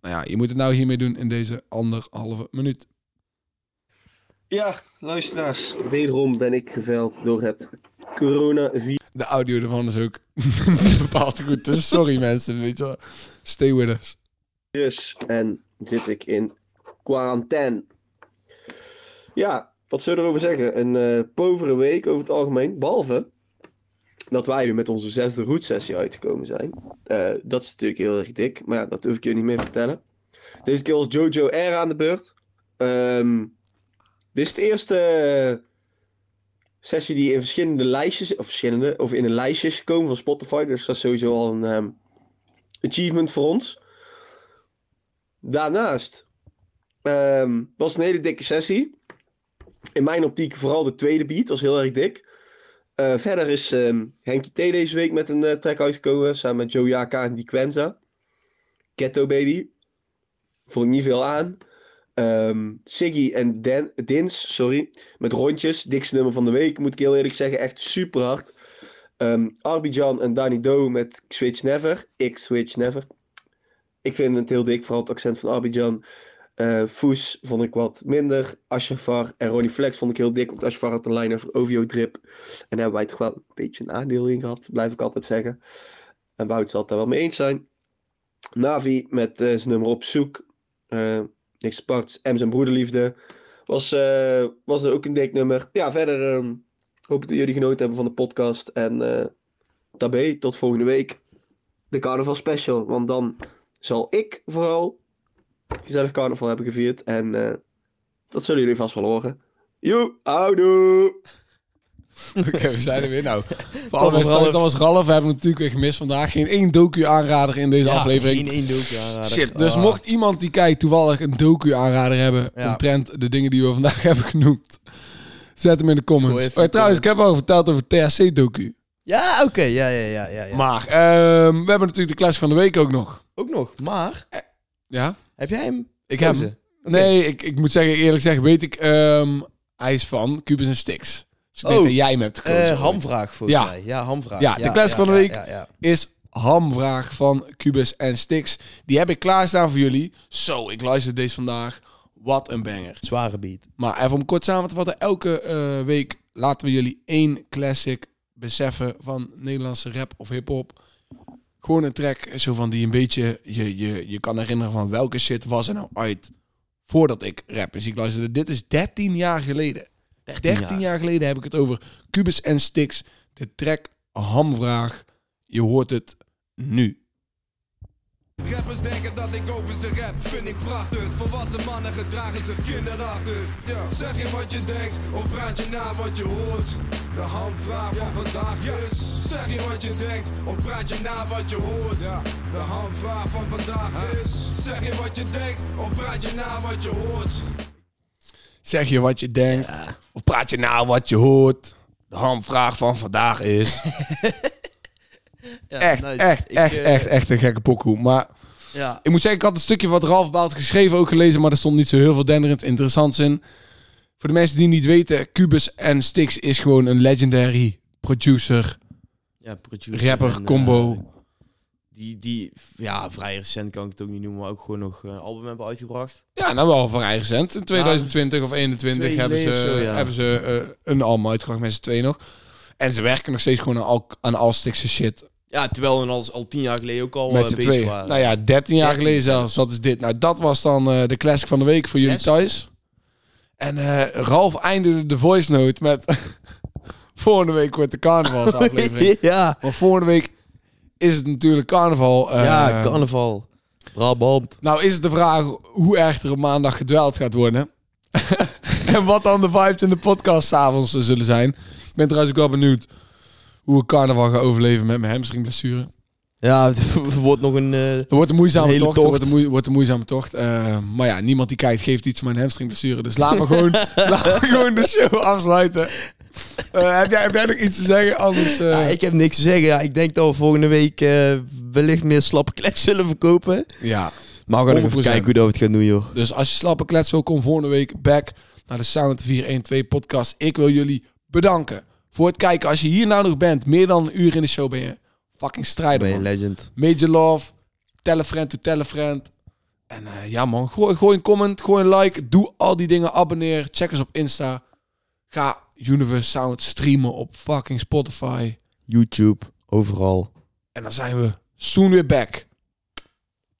A: Nou ja, je moet het nou hiermee doen in deze anderhalve minuut.
F: Ja, luisteraars, wederom ben ik geveld door het coronavirus.
A: De audio ervan is ook *laughs* niet bepaald goed, dus sorry *laughs* mensen, weet je wel. Stay with us. *laughs*
F: Dus, En zit ik in quarantaine. Ja, wat zullen we erover zeggen? Een eh povere week over het algemeen. Behalve dat wij nu met onze zesde route-sessie uitgekomen zijn. Eh, dat is natuurlijk heel erg dik, maar ja, dat hoef ik jullie niet meer te vertellen. Deze keer was Jojo R aan de beurt. Ehm, dit is de eerste eh, sessie die in verschillende lijstjes, of verschillende, of in een lijstje is gekomen van Spotify. Dus dat is sowieso al een ehm, achievement voor ons. Daarnaast ehm, was een hele dikke sessie. In mijn optiek vooral de tweede beat was heel erg dik. Eh, verder is ehm Henkie T deze week met een eh, track uitgekomen. Samen met Joe Jaka en Diquenza. Ghetto Baby. Vond ik niet veel aan. Ehm Siggy en Dan, Dins, sorry. Met rondjes. Dikste nummer van de week, moet ik heel eerlijk zeggen. Echt super hard. Ehm Arbijan en Danny Doe met Switch Never. Ik Switch Never. Ik vind het heel dik, vooral het accent van Abidjan. Eh Foes vond ik wat minder. Ashafar en Ronnie Flex vond ik heel dik. Want Ashafar had een lijn over OVO-drip. En daar hebben wij toch wel een beetje een aandeel in gehad. Blijf ik altijd zeggen. En Wout zal het daar wel mee eens zijn. Navi met eh, zijn nummer op zoek. Eh, niks aparts. M zijn broederliefde. Was, eh, was er ook een dik nummer. Ja, verder ehm, hoop ik dat jullie genoten hebben van de podcast. En eh tabé, tot volgende week. De carnaval special. Want dan zal ik vooral gezellig carnaval hebben gevierd. En eh, dat zullen jullie vast wel horen. Joe, houdoe!
A: Oké, we zijn er weer. Nou, voor
D: was
A: alle mensen thuis,
D: Ralf.
A: dat was Ralf. We hebben natuurlijk weer gemist vandaag. Geen één docu-aanrader in deze
D: Ja,
A: aflevering.
D: geen één doekje aanraden.
A: Shit, dus
D: Ah.
A: mocht iemand die kijkt toevallig een docu-aanrader hebben...
D: Ja.
A: omtrent de dingen die we vandaag *laughs* hebben genoemd... zet hem in de
D: Gooi
A: comments.
D: even
A: Oh,
D: in de
A: trouwens, ik heb al verteld over THC-docu.
D: Ja, oké. Ja, ja, ja, ja, ja.
A: Maar ehm, we hebben natuurlijk de clash van de week ook nog.
D: Ook nog. Maar,
A: Ja?
D: heb jij hem?
A: Ik heb
D: Kozen?
A: Nee, ik, ik moet zeggen, eerlijk zeggen, weet ik... ehm, hij is van Cubus en Sticks. Dus ik denk
D: Oh,
A: dat jij hem hebt gekozen.
D: Eh,
A: ooit.
D: hamvraag volgens
A: Ja.
D: mij. Ja, hamvraag.
A: Ja, de classic van de week.
D: Ja, ja.
A: is hamvraag van Cubus en Stix. Die heb ik klaarstaan voor jullie. Zo, ik luister deze vandaag. Wat een banger.
D: Zware beat.
A: Maar even om kort samen te vatten. Elke eh, week laten we jullie één classic beseffen van Nederlandse rap of hiphop. Gewoon een track zo van die een beetje je, je, je kan herinneren van welke shit was er nou uit voordat ik rap muziek luisterde. Dit is 13 jaar geleden. 13, jaar. geleden heb ik het over Cubus en Stix. De track Hamvraag. Je hoort het nu.
G: Rappers denken dat ik over ze rap, vind ik prachtig. Volwassen mannen gedragen zich kinderachtig. Zeg je wat je denkt, of praat je na wat je hoort? De hamvraag van vandaag is. Zeg je wat je denkt, of praat je na wat je hoort? De hamvraag van vandaag is. Zeg je wat je denkt, of praat je na wat je hoort?
A: Zeg je wat je denkt. Of praat je nou wat je hoort. De hamvraag van vandaag is. echt, echt, echt,
D: eh,
B: eh,
A: echt, echt een gekke pokoe. Maar
B: Ja.
A: ik moet zeggen, ik had een stukje wat Ralf Baalt geschreven ook gelezen. Maar er stond niet zo heel veel denderend interessants in. Voor de mensen die niet weten, Cubus en Stix is gewoon een legendary producer,
B: ja producer en,
A: rapper,
B: eh,
A: combo.
B: die, die, ja, vrij recent kan ik het ook niet noemen, maar ook gewoon nog een album hebben uitgebracht.
A: Ja, nou wel voor eigen cent. In 2020 of 21
B: twee
A: hebben ze,
B: geleden of zo, ja.
A: hebben ze eh, een album uitgebracht met z'n twee nog. En ze werken nog steeds gewoon aan al, aan al stikse shit
B: Ja, terwijl we al, al tien jaar geleden ook al
A: met
B: eh,
A: z'n
B: bezig
A: tweeën.
D: *laughs*
B: waren.
A: Nou ja, 13 jaar geleden zelfs. Dat is dit. Nou, dat was dan eh, de classic van de week voor jullie thuis. En eh, Ralf eindigde de voice note met... *laughs* volgende week wordt de
B: *laughs*
A: carnavalsaflevering.
B: ja.
A: Want volgende week is het natuurlijk carnaval. eh,
B: ja, carnaval. Brabant.
A: Nou is het de vraag hoe erg er op maandag gedweld gaat worden. *laughs* en wat dan de vibes in de podcast s'avonds zullen zijn. Ik ben trouwens ook wel benieuwd hoe ik carnaval ga overleven met mijn hamstringblessure.
B: Ja,
D: *laughs*
B: het wordt nog een... eh,
A: Er wordt een moeizame
B: Een hele
A: tocht. er
B: tocht.
A: Wordt, een moe- wordt een moeizame tocht. Eh, maar ja, niemand die kijkt geeft iets om mijn hamstringblessure. Dus laat maar *laughs* gewoon, laat maar gewoon de show afsluiten. Eh, heb, jij, heb jij nog iets te zeggen? Anders... eh,
B: ja, ik heb niks te zeggen. Ja, ik denk dat we volgende week eh, wellicht meer slappe klets *laughs* zullen verkopen.
A: ja.
B: Maar we gaan nog even
A: 100%.
B: kijken hoe dat we het gaan doen, joh.
A: Dus als je slappe klets wil, kom volgende week back naar de Sound 412 podcast. Ik wil jullie bedanken voor het kijken. Als je hier nou nog bent, meer dan een uur in de show ben je fucking strijder,
B: Ben je
A: man.
B: legend.
A: Major love, tell a friend to tell a friend. En eh, ja man, gooi, gooi een comment, gooi een like, doe al die dingen, abonneer, check ons op Insta. Ga Universe Sound streamen op fucking Spotify.
B: YouTube, overal.
A: En dan zijn we soon weer back.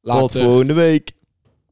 B: Tot
A: Later.
B: volgende week.